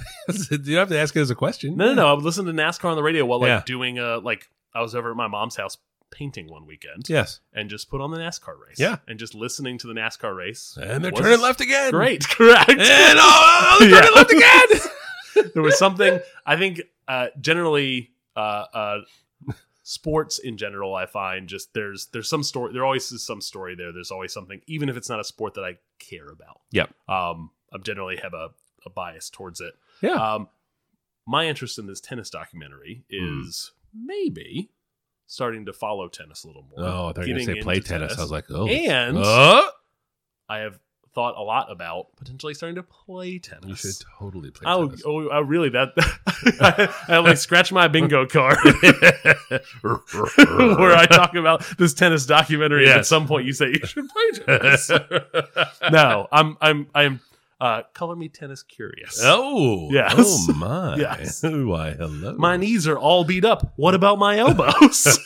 Speaker 2: you don't have to ask it as a question.
Speaker 1: No, no, no. I would listen to NASCAR on the radio while like
Speaker 2: Yeah.
Speaker 1: doing a like I was over at my mom's house painting one weekend
Speaker 2: Yes.
Speaker 1: and just put on the NASCAR race.
Speaker 2: Yeah.
Speaker 1: And just listening to the NASCAR race.
Speaker 2: And they're
Speaker 1: was
Speaker 2: turning left again.
Speaker 1: Great. <laughs> Correct.
Speaker 2: And oh, oh, they're
Speaker 1: <laughs> Yeah.
Speaker 2: turning left again.
Speaker 1: there was something I think uh, generally uh, uh, sports in general I find just there's there's some story there always is some story there there's always something even if it's not a sport that I care about
Speaker 2: Yep.
Speaker 1: um I generally have a, a bias towards it
Speaker 2: Yeah.
Speaker 1: um my interest in this tennis documentary
Speaker 2: Hmm.
Speaker 1: is maybe starting to follow tennis a little more
Speaker 2: oh, they're going to
Speaker 1: getting
Speaker 2: say play
Speaker 1: into
Speaker 2: tennis. I was like, oh.
Speaker 1: and
Speaker 2: oh,
Speaker 1: I have thought a lot about potentially starting to play tennis
Speaker 2: you should totally play
Speaker 1: Oh,
Speaker 2: tennis.
Speaker 1: oh, I really that <laughs> I, I like scratch my bingo card
Speaker 2: <laughs>
Speaker 1: where I talk about this tennis documentary. And at
Speaker 2: Yes.
Speaker 1: some point, you say you should play
Speaker 2: <laughs>
Speaker 1: tennis. no, I'm, I'm, I'm. Uh, color me tennis curious.
Speaker 2: Oh,
Speaker 1: Yes. <laughs>
Speaker 2: Oh my. <laughs>
Speaker 1: Yes.
Speaker 2: Why, hello.
Speaker 1: My knees are all beat up. What about my elbows?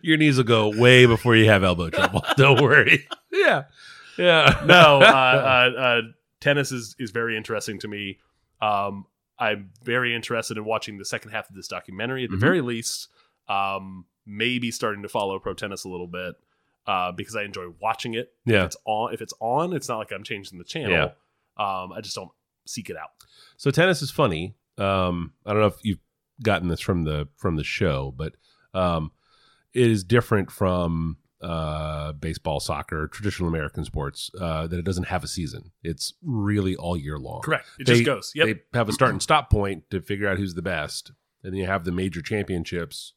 Speaker 2: Your knees will go way before you have elbow
Speaker 1: <laughs>
Speaker 2: trouble. Don't worry.
Speaker 1: yeah,
Speaker 2: Yeah.
Speaker 1: <laughs> no. Uh,
Speaker 2: <laughs>
Speaker 1: uh, uh, tennis is is very interesting to me. Um, I'm very interested in watching the second half of this documentary. At the
Speaker 2: Mhm.
Speaker 1: very least, um, maybe starting to follow pro tennis a little bit uh, because I enjoy watching it.
Speaker 2: Yeah.
Speaker 1: If it's on, if it's on, it's not like I'm changing the channel.
Speaker 2: Yeah.
Speaker 1: Um, I just don't seek it out.
Speaker 2: So tennis is funny. Um, I don't know if you've gotten this from the from the show, but um, it is different from uh, baseball, soccer, traditional American sports. Uh, that it doesn't have a season. It's really all year long.
Speaker 1: Correct. It
Speaker 2: They-
Speaker 1: just goes. Yep.
Speaker 2: They have a start and stop point to figure out who's the best, and then you have the major championships,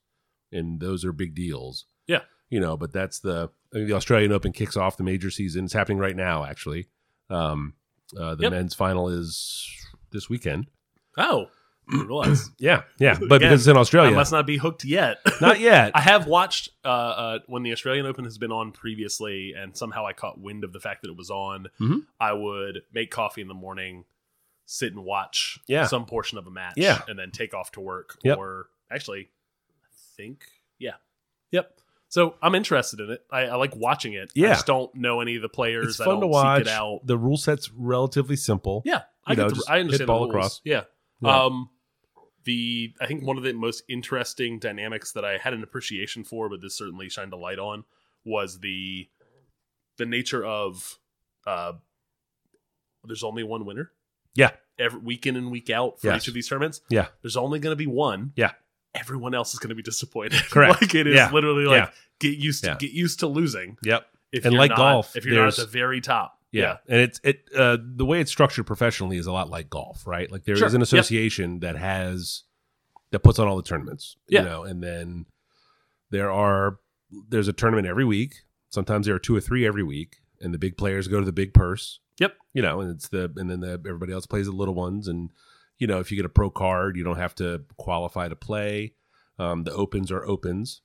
Speaker 2: and those are big deals.
Speaker 1: Yeah.
Speaker 2: you know, but that's the I mean, the Australian Open kicks off the major season. It's happening right now, actually. Um, uh, the
Speaker 1: Yep.
Speaker 2: men's final is this weekend. <clears throat>
Speaker 1: oh, I didn't realize.
Speaker 2: Yeah,
Speaker 1: <laughs>
Speaker 2: Oh, yeah, but
Speaker 1: Again,
Speaker 2: because it's in
Speaker 1: I
Speaker 2: Australia,
Speaker 1: must not be hooked yet. <laughs>
Speaker 2: not yet.
Speaker 1: I have watched uh, uh, when the Australian Open has been on previously, and somehow I caught wind of the fact that it was on.
Speaker 2: Mhm.
Speaker 1: I would make coffee in the morning, sit and watch
Speaker 2: Yeah.
Speaker 1: some portion of a match,
Speaker 2: Yeah.
Speaker 1: and then take off to work.
Speaker 2: Yep.
Speaker 1: Or actually, I think, yeah, yep. So I'm interested in it. I, I like watching it.
Speaker 2: Yeah.
Speaker 1: I just don't know any of the players.
Speaker 2: it's
Speaker 1: I
Speaker 2: fun
Speaker 1: don't
Speaker 2: to watch.
Speaker 1: seek it out.
Speaker 2: The rule set's relatively simple.
Speaker 1: Yeah, I
Speaker 2: You know,
Speaker 1: get the,
Speaker 2: just
Speaker 1: I
Speaker 2: hit
Speaker 1: understand
Speaker 2: ball
Speaker 1: the rules.
Speaker 2: across.
Speaker 1: Yeah.
Speaker 2: Yeah.
Speaker 1: Um the I think one of the most interesting dynamics that I had an appreciation for, but this certainly shined a light on, was the the nature of uh, there's only one winner.
Speaker 2: Yeah.
Speaker 1: Every week in and week out for
Speaker 2: Yes.
Speaker 1: each of these tournaments.
Speaker 2: Yeah.
Speaker 1: There's only going to be one.
Speaker 2: Yeah.
Speaker 1: Everyone else is going to be disappointed. <laughs>
Speaker 2: Correct.
Speaker 1: like it is
Speaker 2: Yeah.
Speaker 1: literally like
Speaker 2: Yeah.
Speaker 1: get used to
Speaker 2: Yeah.
Speaker 1: get used to losing.
Speaker 2: Yep.
Speaker 1: If
Speaker 2: And
Speaker 1: you're
Speaker 2: like
Speaker 1: not-
Speaker 2: golf,
Speaker 1: if you're not at
Speaker 2: there's-
Speaker 1: the very top.
Speaker 2: Yeah. And it's it uh the way it's structured professionally is a lot like golf, right? Like there is
Speaker 1: Sure.
Speaker 2: an
Speaker 1: Yep.
Speaker 2: association that has that puts on all the tournaments.
Speaker 1: Yeah.
Speaker 2: You know, and then there are there's a tournament every week. Sometimes there are two or three every week, and the big players go to the big purse.
Speaker 1: Yep.
Speaker 2: You know, and it's the and then the, everybody else plays the little ones and you know, if you get a pro card, you don't have to qualify to play. Um, the opens are opens,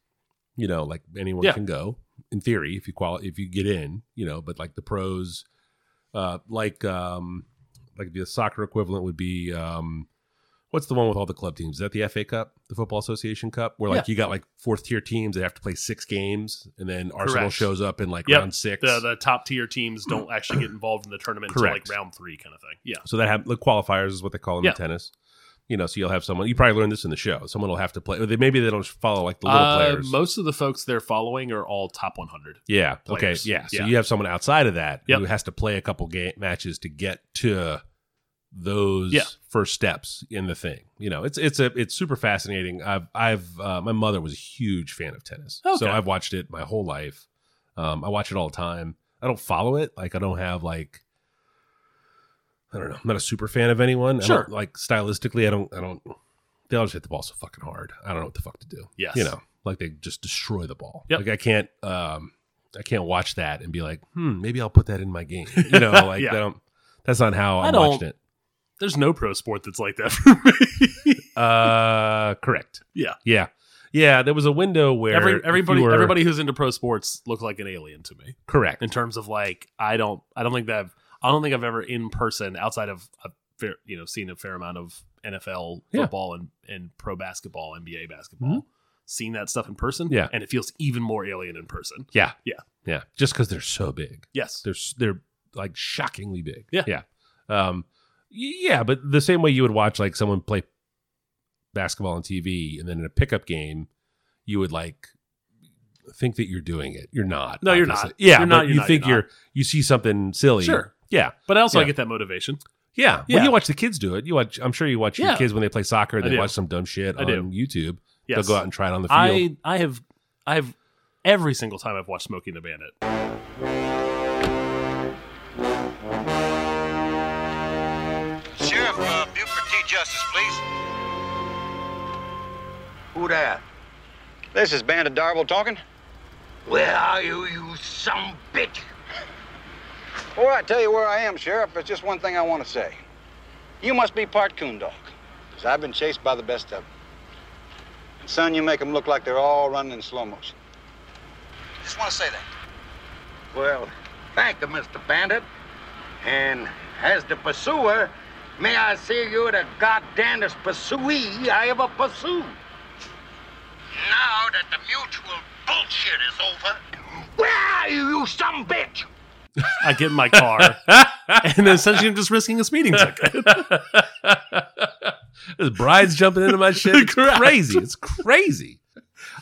Speaker 2: you know, like anyone
Speaker 1: Yeah.
Speaker 2: can go in theory if you quali- if you get in, you know, but like the pros, uh, like um, like the soccer equivalent would be um, what's the one with all the club teams? Is that the FA Cup, the Football Association Cup, where like you got like fourth tier teams that have to play six games, and then Arsenal
Speaker 1: Correct.
Speaker 2: shows up in like
Speaker 1: Yep.
Speaker 2: round six.
Speaker 1: The the top tier teams don't actually get involved in the tournament
Speaker 2: Correct.
Speaker 1: until like round three kind of thing. Yeah.
Speaker 2: So that have the qualifiers is what they call them
Speaker 1: Yeah.
Speaker 2: in tennis. You know, so you'll have someone. You probably learned this in the show. Someone will have to play. Or they, maybe they don't follow like the little
Speaker 1: Uh,
Speaker 2: players.
Speaker 1: Most of the folks they're following are all top 100.
Speaker 2: yeah.
Speaker 1: players.
Speaker 2: Okay. Yeah. So
Speaker 1: Yeah.
Speaker 2: you have someone outside of that
Speaker 1: Yep.
Speaker 2: who has to play a couple game matches to get to those
Speaker 1: Yeah.
Speaker 2: first steps in the thing. You know, it's it's a it's super fascinating. I've I've uh, my mother was a huge fan of tennis,
Speaker 1: Okay.
Speaker 2: so I've watched it my whole life. Um, I watch it all the time. I don't follow it. Like I don't have like I don't know. I'm not a super fan of anyone. I
Speaker 1: Sure.
Speaker 2: don't- like stylistically, I don't. I don't. They always hit the ball so fucking hard. I don't know what the fuck to do.
Speaker 1: Yes.
Speaker 2: You know, like they just destroy the ball.
Speaker 1: Yep.
Speaker 2: Like I can't. Um, I can't watch that and be like, hmm, maybe I'll put that in my game. You know, like
Speaker 1: <laughs> Yeah.
Speaker 2: I don't. That's not how
Speaker 1: I
Speaker 2: I'm
Speaker 1: don't-
Speaker 2: watching it.
Speaker 1: There's no pro sport that's like that <laughs> for me.
Speaker 2: Uh, correct.
Speaker 1: Yeah.
Speaker 2: Yeah. Yeah. There was a window where
Speaker 1: Every,
Speaker 2: if
Speaker 1: everybody
Speaker 2: you were-
Speaker 1: everybody who's into pro sports look like an alien to me
Speaker 2: correct.
Speaker 1: in terms of like I don't I don't think that I've, I don't think I've ever in person outside of a fair, you know seen a fair amount of NFL
Speaker 2: Yeah. Mm-hmm.
Speaker 1: football and and pro basketball NBA basketball seen that stuff in person
Speaker 2: Yeah.
Speaker 1: and it feels even more alien in person
Speaker 2: Yeah.
Speaker 1: Yeah.
Speaker 2: Yeah. Just because they're so big.
Speaker 1: yes
Speaker 2: They're s- they're like shockingly big.
Speaker 1: Yeah.
Speaker 2: Yeah. Um y- yeah, but the same way you would watch like someone play basketball on TV and then in a pickup game, you would like think that you're doing it. You're not.
Speaker 1: No, you're not.
Speaker 2: Yeah.
Speaker 1: You're
Speaker 2: but
Speaker 1: not, you're
Speaker 2: you
Speaker 1: not,
Speaker 2: think
Speaker 1: you're
Speaker 2: you're,
Speaker 1: not.
Speaker 2: you see something silly.
Speaker 1: Sure.
Speaker 2: Yeah.
Speaker 1: but also I
Speaker 2: Yeah.
Speaker 1: get that motivation
Speaker 2: Yeah.
Speaker 1: Yeah.
Speaker 2: Well, you watch the kids do it. You watch I'm sure you watch your
Speaker 1: Yeah.
Speaker 2: kids when they play soccer and
Speaker 1: I
Speaker 2: they
Speaker 1: do.
Speaker 2: watch some dumb shit
Speaker 1: I
Speaker 2: on
Speaker 1: do.
Speaker 2: YouTube.
Speaker 1: yes
Speaker 2: They'll go out and try it on the field.
Speaker 1: I I have I have every single time I've watched Smoking the Bandit
Speaker 5: Sheriff uh, Buford T. Justice, please.
Speaker 3: Who that?
Speaker 5: This is Bandit Darble talking.
Speaker 3: Where are you, you some bitch?
Speaker 5: Before I tell you where I am, Sheriff, there's just one thing I want to say. You must be part coon dog, because I've been chased by the best of them. And son, you make them look like they're all running in slow motion. Just want to say that.
Speaker 7: Well, thank you, Mr. Bandit. And as the pursuer, may I say you're the goddamnedest pursuee I ever pursued.
Speaker 3: Now that the mutual bullshit is over,
Speaker 7: Where are you, you some bitch?
Speaker 1: I get in
Speaker 2: <laughs>
Speaker 1: my car and then essentially I'm just risking a speeding ticket
Speaker 2: There's brides jumping into
Speaker 1: <laughs>
Speaker 2: my shit. It's
Speaker 1: Correct.
Speaker 2: crazy. It's crazy.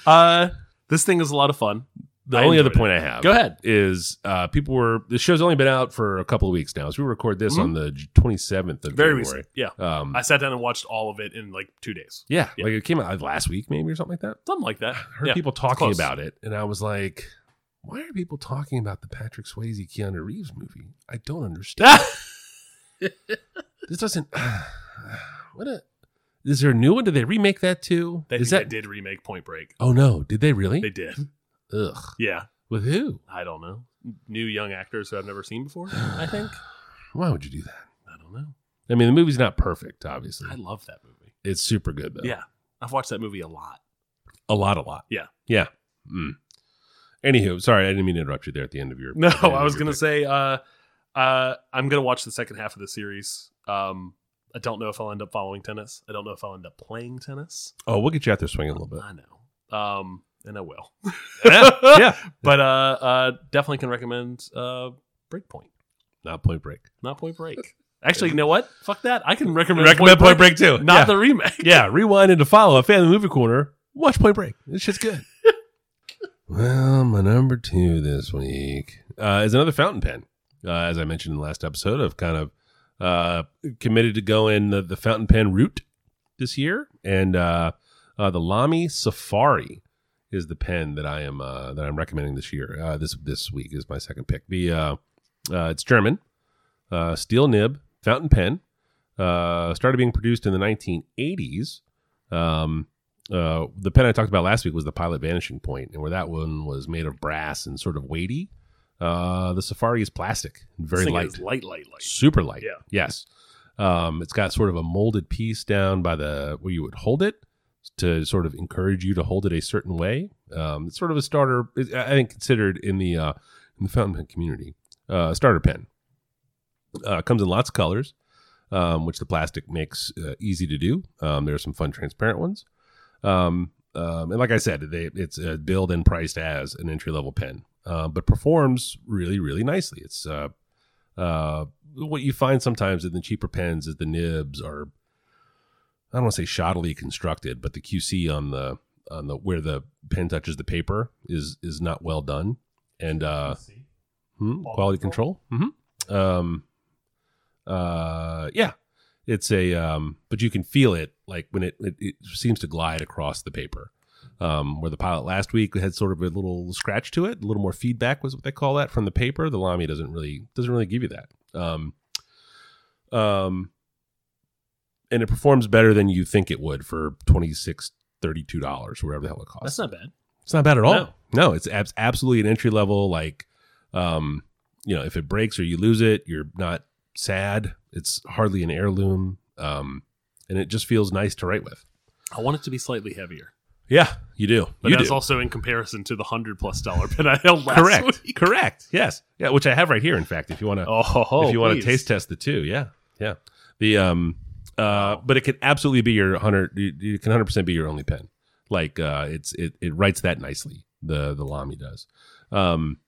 Speaker 1: uh this thing is a lot of fun
Speaker 2: The
Speaker 1: I
Speaker 2: only other
Speaker 1: enjoyed
Speaker 2: point I have.
Speaker 1: Go ahead.
Speaker 2: Uh, Is uh, people were the show's only been out for a couple of weeks now. As we record this
Speaker 1: Mhm.
Speaker 2: on the twenty seventh of
Speaker 1: very
Speaker 2: January.
Speaker 1: recent yeah
Speaker 2: Um,
Speaker 1: I sat down and watched all of it in like two days.
Speaker 2: yeah,
Speaker 1: Yeah.
Speaker 2: like it came out last week maybe or something like that.
Speaker 1: Something like that.
Speaker 2: I heard
Speaker 1: Yeah.
Speaker 2: people talking
Speaker 1: close.
Speaker 2: about it, and I was like, why are people talking about the Patrick Swayze Keanu Reeves movie? I don't
Speaker 1: <laughs>
Speaker 2: understand. this doesn't. <sighs> what a. Is there a new one? Did they remake that too?
Speaker 1: They,
Speaker 2: is
Speaker 1: think
Speaker 2: that
Speaker 1: they did remake Point Break.
Speaker 2: Oh no! Did they really?
Speaker 1: They did.
Speaker 2: Ugh.
Speaker 1: Yeah.
Speaker 2: With who?
Speaker 1: I don't know. New young actors who I've never seen before, I think.
Speaker 2: Why would you do that?
Speaker 1: I don't know.
Speaker 2: I mean, the movie's not perfect, obviously.
Speaker 1: I love that movie.
Speaker 2: It's super good though.
Speaker 1: Yeah. I've watched that movie a lot.
Speaker 2: a lot, a lot.
Speaker 1: Yeah.
Speaker 2: yeah. Mm. Anywho, sorry, I didn't mean to interrupt you there at the end of your.
Speaker 1: <laughs> No,
Speaker 2: at the end
Speaker 1: I
Speaker 2: of
Speaker 1: was
Speaker 2: your
Speaker 1: gonna
Speaker 2: thing.
Speaker 1: say uh uh I'm gonna watch the second half of the series. Um I don't know if I'll end up following tennis. I don't know if I'll end up playing tennis.
Speaker 2: Oh, we'll get you out there swinging a little
Speaker 1: <laughs>
Speaker 2: bit.
Speaker 1: I know. Um and I
Speaker 2: <laughs>
Speaker 1: will.
Speaker 2: yeah, yeah.
Speaker 1: But uh uh definitely can recommend uh Breakpoint,
Speaker 2: Not Point Break.
Speaker 1: not Point Break. Actually, you know what? Fuck that. I can recommend,
Speaker 2: Recommend Point Break too.
Speaker 1: not
Speaker 2: yeah.
Speaker 1: the
Speaker 2: <laughs>
Speaker 1: remake.
Speaker 2: yeah, rewind and to follow a family movie corner. Watch Point Break. This shit's
Speaker 1: <laughs>
Speaker 2: good. well, my number two this week uh, is another fountain pen. Uh, as I mentioned in the last episode, I've kind of uh, committed to go in the, the fountain pen route this year, and uh, uh, the Lamy Safari is the pen that I am uh, that I'm recommending this year. Uh, this this week is my second pick. The uh, uh, it's German, uh, steel nib fountain pen uh, started being produced in the 1980s. Um, uh, the pen I talked about last week was the Pilot Vanishing Point, and where that one was made of brass and sort of weighty. Uh, the Safari is plastic,
Speaker 1: This
Speaker 2: very
Speaker 1: thing
Speaker 2: light,
Speaker 1: is light, light, light.
Speaker 2: super light.
Speaker 1: Yeah.
Speaker 2: <laughs> Yes. Um, it's got sort of a molded piece down by the where you would hold it to sort of encourage you to hold it a certain way. Um, it's sort of a starter, I I think, considered in the uh, in the fountain pen community, uh, starter pen. Uh, comes in lots of colors, um, which the plastic makes uh, easy to do. Um, there are some fun transparent ones. Um, um, and like I said, they, it's uh, billed and priced as an entry level pen, uh, but performs really, really nicely. It's uh, uh, what you find sometimes in the cheaper pens is the nibs are, I don't want to say shoddily constructed, but the QC on the on the where the pen touches the paper is is not well done, and uh, hmm, quality control. hmm Um, uh, yeah, it's a um, but you can feel it like when it, it it seems to glide across the paper. Um, where the pilot last week had sort of a little scratch to it, a little more feedback was what they call that from the paper. The Lamy doesn't really doesn't really give you that. Um, um, and it performs better than you think it would for twenty six thirty two dollars, whatever the hell it costs.
Speaker 1: That's not bad.
Speaker 2: It's not bad at all.
Speaker 1: No.
Speaker 2: No, it's abs- absolutely an entry level. Like, um, you know, if it breaks or you lose it, you're not sad. It's hardly an heirloom, um, and it just feels nice to write with.
Speaker 1: I want it to be slightly heavier,
Speaker 2: Yeah, you do.
Speaker 1: but
Speaker 2: you
Speaker 1: that's
Speaker 2: do.
Speaker 1: also in comparison to the hundred plus dollar <laughs> pen I held last
Speaker 2: correct.
Speaker 1: week.
Speaker 2: Correct. Yes. Yeah. Which I have right here. In fact, if you want to,
Speaker 1: Oh,
Speaker 2: if you want to
Speaker 1: please.
Speaker 2: taste test the two, yeah, yeah. The um, uh, but it can absolutely be your hundred. It can hundred percent be your only pen. Like uh, it's it it writes that nicely. The the Lamy does. Um,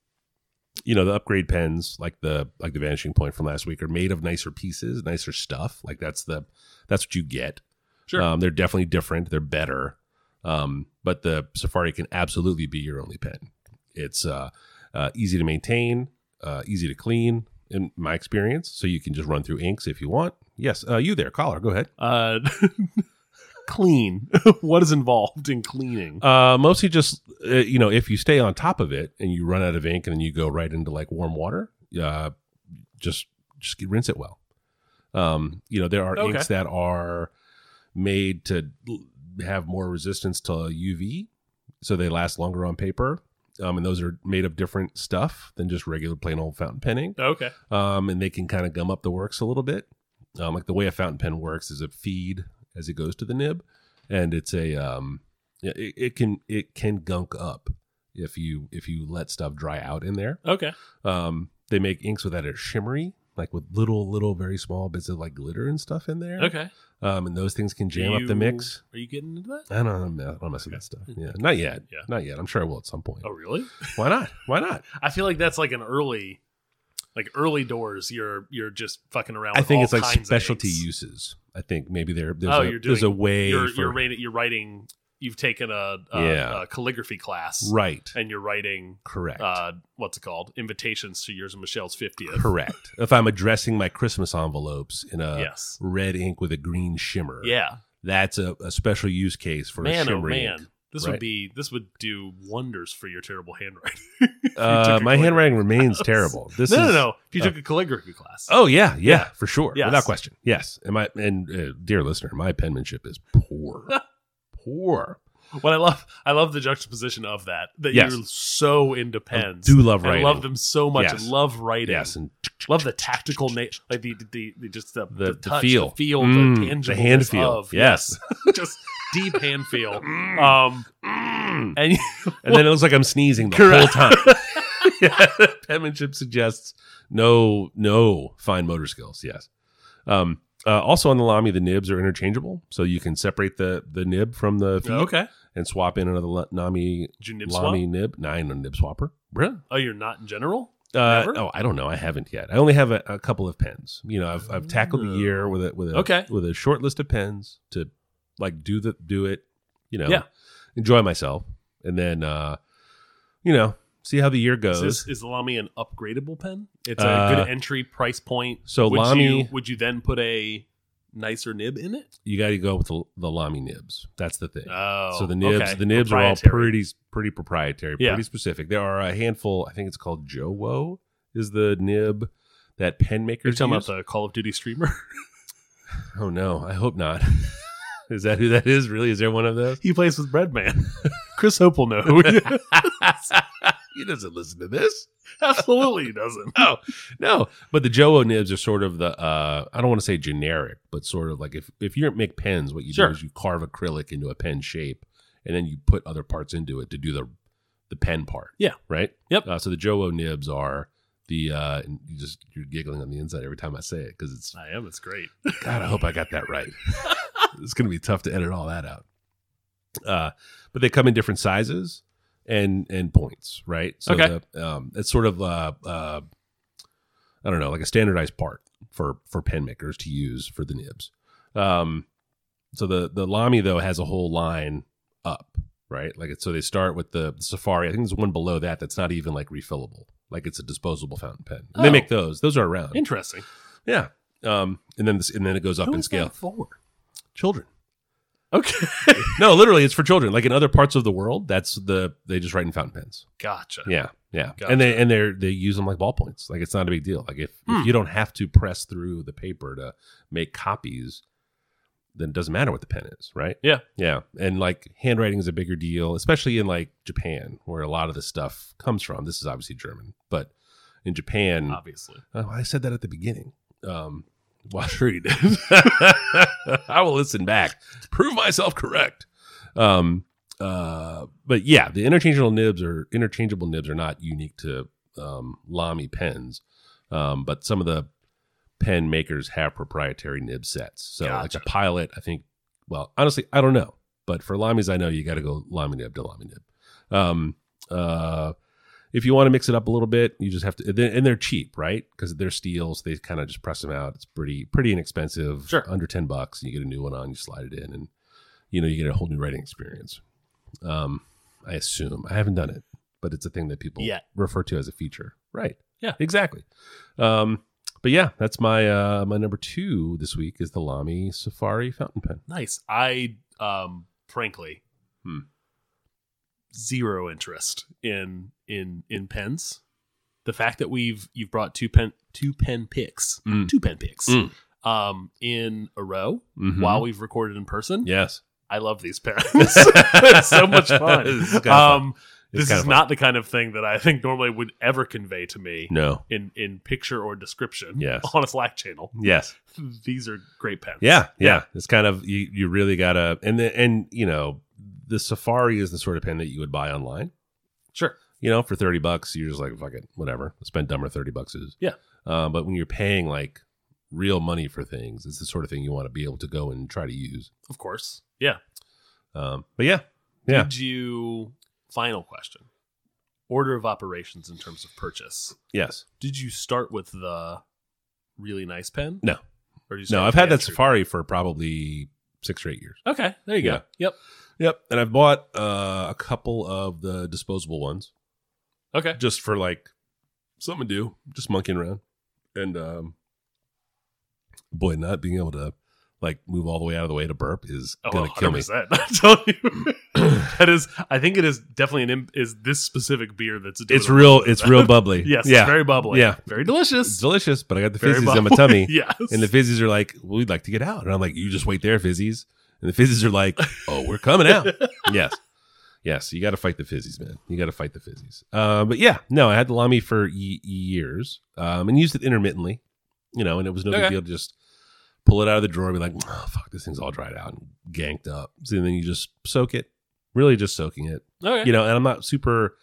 Speaker 2: you know the upgrade pens like the like the Vanishing Point from last week are made of nicer pieces, nicer stuff. Like that's the that's what you get.
Speaker 1: Sure.
Speaker 2: Um, they're definitely different. They're better. Um, but the Safari can absolutely be your only pen. It's uh, uh, easy to maintain, uh, easy to clean, in my experience. So you can just run through inks if you want. Yes, uh, you there, caller, go ahead.
Speaker 1: Uh,
Speaker 2: <laughs>
Speaker 1: clean. what is involved in cleaning?
Speaker 2: Uh, mostly just uh, you know if you stay on top of it and you run out of ink and then you go right into like warm water, uh, just just get- rinse it well. Um, you know there are
Speaker 1: Okay.
Speaker 2: inks that are made to l- have more resistance to UV, so they last longer on paper. Um, and those are made of different stuff than just regular plain old fountain penning.
Speaker 1: Oh, okay.
Speaker 2: um, and they can kind of gum up the works a little bit. Um, like the way a fountain pen works is a feed as it goes to the nib, and it's a um, yeah, it, it can it can gunk up if you if you let stuff dry out in there.
Speaker 1: Okay.
Speaker 2: Um, they make inks with that are shimmery, like with little little very small bits of like glitter and stuff in there.
Speaker 1: Okay.
Speaker 2: Um, and those things can jam
Speaker 1: You-
Speaker 2: up the mix.
Speaker 1: Are you getting into that?
Speaker 2: I don't know. I'm not, I'm not messing with that stuff. Yeah, not yet.
Speaker 1: Yeah.
Speaker 2: Not yet. I'm sure I will at some point.
Speaker 1: Oh, really?
Speaker 2: Why not? Why not?
Speaker 1: I feel like that's like an early, like early doors. You're you're just fucking around.
Speaker 2: I
Speaker 1: with
Speaker 2: think
Speaker 1: all
Speaker 2: it's like
Speaker 1: kinds of
Speaker 2: specialty
Speaker 1: eggs.
Speaker 2: uses. I think maybe there, there's,
Speaker 1: oh,
Speaker 2: a,
Speaker 1: you're doing.
Speaker 2: there's a way
Speaker 1: You're,
Speaker 2: for-
Speaker 1: you're, writing, you're writing. You've taken a, a,
Speaker 2: Yeah.
Speaker 1: a calligraphy class,
Speaker 2: right.
Speaker 1: And you're writing.
Speaker 2: Correct.
Speaker 1: Uh, what's it called? Invitations to yours and Michelle's fiftieth.
Speaker 2: Correct. if I'm addressing my Christmas envelopes in a
Speaker 1: Yes.
Speaker 2: red ink with a green shimmer,
Speaker 1: Yeah,
Speaker 2: that's a, a special use case for a
Speaker 1: man, oh
Speaker 2: shimmer
Speaker 1: man, <laughs>
Speaker 2: ink.
Speaker 1: this
Speaker 2: right?
Speaker 1: would be this would do wonders for your terrible handwriting. <laughs>
Speaker 2: Uh,
Speaker 1: took a
Speaker 2: my
Speaker 1: calligraphy <laughs>
Speaker 2: handwriting remains
Speaker 1: class.
Speaker 2: terrible. This
Speaker 1: no,
Speaker 2: is,
Speaker 1: no, no. If you
Speaker 2: uh,
Speaker 1: took a calligraphy class,
Speaker 2: Oh yeah, yeah, for sure,
Speaker 1: Yes.
Speaker 2: without question. Yes, and my and uh, dear listener, my penmanship is
Speaker 1: <laughs>
Speaker 2: poor, poor.
Speaker 1: What I love, I love the juxtaposition of that. That
Speaker 2: Yes.
Speaker 1: you're so into pens.
Speaker 2: do love
Speaker 1: and
Speaker 2: writing.
Speaker 1: love them so much.
Speaker 2: Yes.
Speaker 1: and love writing.
Speaker 2: Yes, and
Speaker 1: Love the tactical nature, like the, the the just the
Speaker 2: The-
Speaker 1: the,
Speaker 2: the
Speaker 1: touch,
Speaker 2: feel.
Speaker 1: the feel,
Speaker 2: Mm,
Speaker 1: the
Speaker 2: the
Speaker 1: tangibleness
Speaker 2: hand feel.
Speaker 1: <laughs>
Speaker 2: Mm.
Speaker 1: Of,
Speaker 2: Yes.
Speaker 1: just deep hand
Speaker 2: <laughs>
Speaker 1: feel. Um,
Speaker 2: Mm.
Speaker 1: and <laughs>
Speaker 2: and then it looks like I'm sneezing the
Speaker 1: Correct. <laughs>
Speaker 2: whole time. <laughs> yeah, penmanship suggests no no fine motor skills. Yes. Um, uh, also on the Lamy, the nibs are interchangeable, so you can separate the the nib from the feet
Speaker 1: okay,
Speaker 2: and swap in another Lamy
Speaker 1: did you nib swap?
Speaker 2: Lamy nib. Nine a nib swapper. Really?
Speaker 1: Oh, you're not in general.
Speaker 2: Uh,
Speaker 1: Never?
Speaker 2: oh, I don't know. I haven't yet. I only have a, a couple of pens. You know, I've, I've tackled the year with a with a
Speaker 1: Oh. Okay.
Speaker 2: with a short list of pens to like do the do it. You know,
Speaker 1: Yeah.
Speaker 2: enjoy myself, and then uh, you know, see how the year goes.
Speaker 1: Is, this, is Lamy an upgradable pen? It's a
Speaker 2: Uh,
Speaker 1: good entry price point.
Speaker 2: so
Speaker 1: would
Speaker 2: Lamy-
Speaker 1: you, would you then put a nicer nib in it?
Speaker 2: you got to go with the, the Lamy nibs. That's the thing.
Speaker 1: Oh,
Speaker 2: so the nibs,
Speaker 1: okay.
Speaker 2: the nibs are all
Speaker 1: Proprietary.
Speaker 2: pretty pretty proprietary,
Speaker 1: Yeah.
Speaker 2: pretty specific. There are a handful. I think it's called Jowo is the nib that pen
Speaker 1: You're
Speaker 2: makers.
Speaker 1: talking
Speaker 2: use.
Speaker 1: about the Call of Duty streamer. <laughs>
Speaker 2: Oh no, I hope not. <laughs> is that who that is? Really? Is there one of those?
Speaker 1: he plays with Breadman. <laughs> Chris Hope will <laughs> know.
Speaker 2: he doesn't listen to
Speaker 1: <laughs>
Speaker 2: this.
Speaker 1: Absolutely, he doesn't.
Speaker 2: No, no. But the Jowo nibs are sort of the uh, I don't want to say generic, but sort of like if if you make pens, what you
Speaker 1: Sure.
Speaker 2: do is you carve acrylic into a pen shape, and then you put other parts into it to do the the pen part.
Speaker 1: Yeah.
Speaker 2: Right.
Speaker 1: Yep.
Speaker 2: Uh, so the Jowo nibs are the uh, and you just you're giggling on the inside every time I say it because it's
Speaker 1: I am. It's great.
Speaker 2: God, I hope I got that right.
Speaker 1: <laughs>
Speaker 2: it's going to be tough to edit all that out. Uh, but they come in different sizes and and points, right? So
Speaker 1: Okay.
Speaker 2: the, um, it's sort of uh, uh, I don't know, like a standardized part for for pen makers to use for the nibs. Um, so the the Lamy though has a whole line up, right? Like it's, so they start with the Safari. I think there's one below that that's not even like refillable. Like it's a disposable fountain pen. And They
Speaker 1: Oh.
Speaker 2: make those. Those are around.
Speaker 1: Interesting.
Speaker 2: Yeah. Um, and then this, and then it goes up
Speaker 1: Who
Speaker 2: in
Speaker 1: is
Speaker 2: scale.
Speaker 1: that for?
Speaker 2: Children.
Speaker 1: Okay.
Speaker 2: <laughs> No, literally, it's for children. Like in other parts of the world, that's the they just write in fountain pens.
Speaker 1: Gotcha.
Speaker 2: Yeah, yeah.
Speaker 1: Gotcha.
Speaker 2: And they and they they use them like ballpoints. Like it's not a big deal. Like if,
Speaker 1: Hmm.
Speaker 2: if you don't have to press through the paper to make copies, then it doesn't matter what the pen is, right?
Speaker 1: Yeah.
Speaker 2: Yeah. And like handwriting is a bigger deal, especially in like Japan, where a lot of this stuff comes from. This is obviously German, but in Japan,
Speaker 1: Obviously.
Speaker 2: Oh, I said that at the beginning. Um, <laughs> well, sure you did. <laughs> I will listen back. Prove myself correct. Um, uh, but yeah, the interchangeable nibs are interchangeable nibs are not unique to um, Lamy pens, um, but some of the pen makers have proprietary nib sets. So like
Speaker 1: Gotcha.
Speaker 2: the Pilot, I think. Well, honestly, I don't know. But for Lamy's, I know you got to go Lamy nib to Lamy nib. Um, uh, if you want to mix it up a little bit, you just have to. and they're- And they're cheap, right? Because they're steels. They kind of just press them out. It's pretty pretty inexpensive.
Speaker 1: Sure.
Speaker 2: under ten bucks, and you get a new one on. You slide it in, and you know you get a whole new writing experience. Um, I assume I haven't done it, but it's a thing that people
Speaker 1: Yet.
Speaker 2: refer to as a feature, right?
Speaker 1: Yeah.
Speaker 2: exactly. Um, but yeah, that's my uh my number two this week is the Lamy Safari fountain pen.
Speaker 1: Nice. I um frankly
Speaker 2: Hmm.
Speaker 1: zero interest in in in pens. The fact that we've you've brought two pen two pen picks,
Speaker 2: Mm.
Speaker 1: two pen picks
Speaker 2: Mm.
Speaker 1: um in a row
Speaker 2: Mhm.
Speaker 1: while we've recorded in person.
Speaker 2: Yes,
Speaker 1: I love
Speaker 2: <laughs>
Speaker 1: these pens. <laughs> it's so much fun.
Speaker 2: This is kinda fun.
Speaker 1: um
Speaker 2: It's
Speaker 1: this
Speaker 2: kinda
Speaker 1: is
Speaker 2: fun.
Speaker 1: not the kind of thing that I think normally would ever convey to me
Speaker 2: no.
Speaker 1: in in picture or description
Speaker 2: Yes.
Speaker 1: <laughs> on a Slack channel.
Speaker 2: Yes.
Speaker 1: These are great pens.
Speaker 2: Yeah, yeah. It's kind of you. You really gotta, and the, and you know, the Safari is the sort of pen that you would buy online.
Speaker 1: Sure.
Speaker 2: You know, for thirty bucks, you're just like, fuck it, whatever. Spend dumber thirty bucks is.
Speaker 1: Yeah.
Speaker 2: Uh, but when you're paying like real money for things, it's the sort of thing you want to be able to go and try to use.
Speaker 1: Of course. Yeah.
Speaker 2: Um, but yeah, yeah.
Speaker 1: Did you final question? Order of operations in terms of purchase.
Speaker 2: yes.
Speaker 1: Did you start with the really nice pen?
Speaker 2: No.
Speaker 1: Or did you
Speaker 2: No,
Speaker 1: start
Speaker 2: I've
Speaker 1: with
Speaker 2: had
Speaker 1: the
Speaker 2: that
Speaker 1: entry?
Speaker 2: Safari for probably six or eight years.
Speaker 1: Okay, there you go.
Speaker 2: Yeah.
Speaker 1: Yep.
Speaker 2: Yep, and I've bought uh, a couple of the disposable ones.
Speaker 1: Okay.
Speaker 2: just for like something to do, just monkeying around. And um boy, not being able to like move all the way out of the way to burp is
Speaker 1: Oh,
Speaker 2: gonna kill me.
Speaker 1: <laughs> 100%. I'm telling you.
Speaker 2: <clears throat>
Speaker 1: that is I think it is definitely an im- is this specific beer that's doing
Speaker 2: It's
Speaker 1: it.
Speaker 2: real it's real bubbly.
Speaker 1: <laughs> Yes,
Speaker 2: yeah.
Speaker 1: it's very bubbly.
Speaker 2: Yeah.
Speaker 1: Very delicious.
Speaker 2: It's delicious, but I got the
Speaker 1: Very
Speaker 2: fizzies in my
Speaker 1: bubbly.
Speaker 2: tummy.
Speaker 1: <laughs> yes.
Speaker 2: And the fizzies are like, well, we'd like to get out. And I'm like, you just wait there, fizzies. And the fizzies are like, oh, we're coming
Speaker 1: <laughs>
Speaker 2: out. yes. Yes. You got to fight the fizzies, man. You got to fight the fizzies. Uh, but yeah, no, I had the Lamy for ye years um, and used it intermittently, you know, and it was no
Speaker 1: Okay.
Speaker 2: big deal to just pull it out of the drawer and be like, oh, fuck, this thing's all dried out and ganked up. So then you just soak it, really just soaking it
Speaker 1: okay.
Speaker 2: you know and i'm not super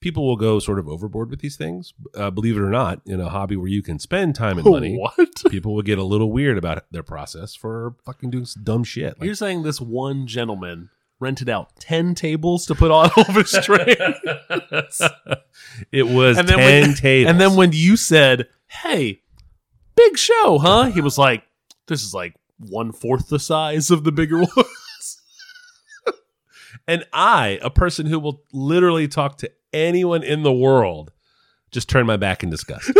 Speaker 2: people will go sort of overboard with these things uh, believe it or not in a hobby where you can spend
Speaker 1: <laughs>
Speaker 2: time and money
Speaker 1: What?
Speaker 2: people will get a little weird about their process for fucking doing some dumb shit like,
Speaker 1: You're saying this one gentleman rented out 10 tables to put on <laughs> Elvis Duran.
Speaker 2: It was
Speaker 1: And then
Speaker 2: ten <laughs>
Speaker 1: when-
Speaker 2: tables.
Speaker 1: And then when you said, "Hey, big show, huh?" He was like, "This is like one fourth the size of the bigger <laughs> one."
Speaker 2: and I, a person who will literally talk to anyone in the world, just turned my back in
Speaker 1: <laughs>
Speaker 2: disgust,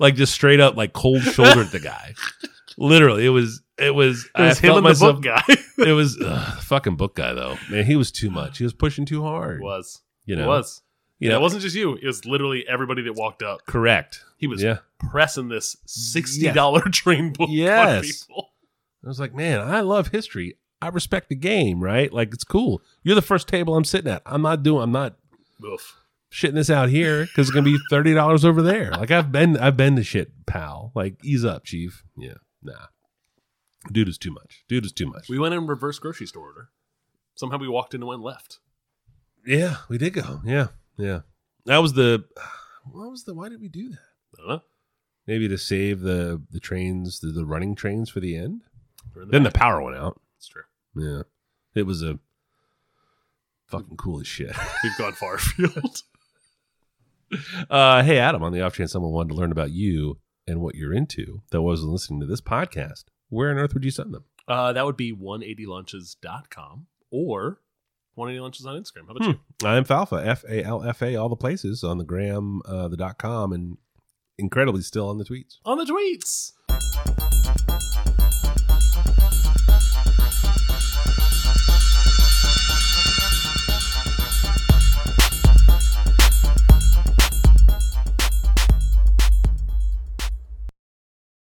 Speaker 2: like just straight up, like cold shouldered the guy. Literally, it was it was
Speaker 1: It
Speaker 2: I
Speaker 1: was him
Speaker 2: felt
Speaker 1: and
Speaker 2: myself-
Speaker 1: the
Speaker 2: <laughs>
Speaker 1: book guy. <laughs>
Speaker 2: it was ugh, the fucking book guy though. Man, he was too much. He was pushing too hard.
Speaker 1: it was.
Speaker 2: you know?
Speaker 1: It was.
Speaker 2: You know,
Speaker 1: it wasn't just you. It was literally everybody that walked up.
Speaker 2: correct.
Speaker 1: He was
Speaker 2: Yeah.
Speaker 1: pressing this sixty dollar train book on
Speaker 2: Yes.
Speaker 1: people.
Speaker 2: I was like, man, I love history. I respect the game, right? Like it's cool. You're the first table I'm sitting at. I'm not doing. I'm not
Speaker 1: Oof.
Speaker 2: shitting this out here because it's gonna be thirty dollars over there. Like I've been, I've been to shit, pal. Like ease up, chief. Yeah, nah. Dude is too much. Dude is too much.
Speaker 1: We went in reverse grocery store order. Somehow we walked into one left.
Speaker 2: yeah, we did go. Yeah, yeah. That was the. <sighs> What was the? Why did we do that?
Speaker 1: I don't know.
Speaker 2: Maybe to save the the trains, the, the running trains for the end.
Speaker 1: We're in
Speaker 2: then
Speaker 1: back.
Speaker 2: the power went out.
Speaker 1: That's true.
Speaker 2: Yeah, it was a fucking cool as shit.
Speaker 1: We've gone far <laughs> afield.
Speaker 2: Uh, hey, Adam, on the off chance someone wanted to learn about you and what you're into that wasn't listening to this podcast, where on earth would you send them?
Speaker 1: Uh, that would be 180lunches.com or 180lunches on Instagram. How about you?
Speaker 2: I'm Falfa, F A L F A, all the places on the gram, uh, the dot com, and incredibly still on the tweets.
Speaker 1: On the tweets.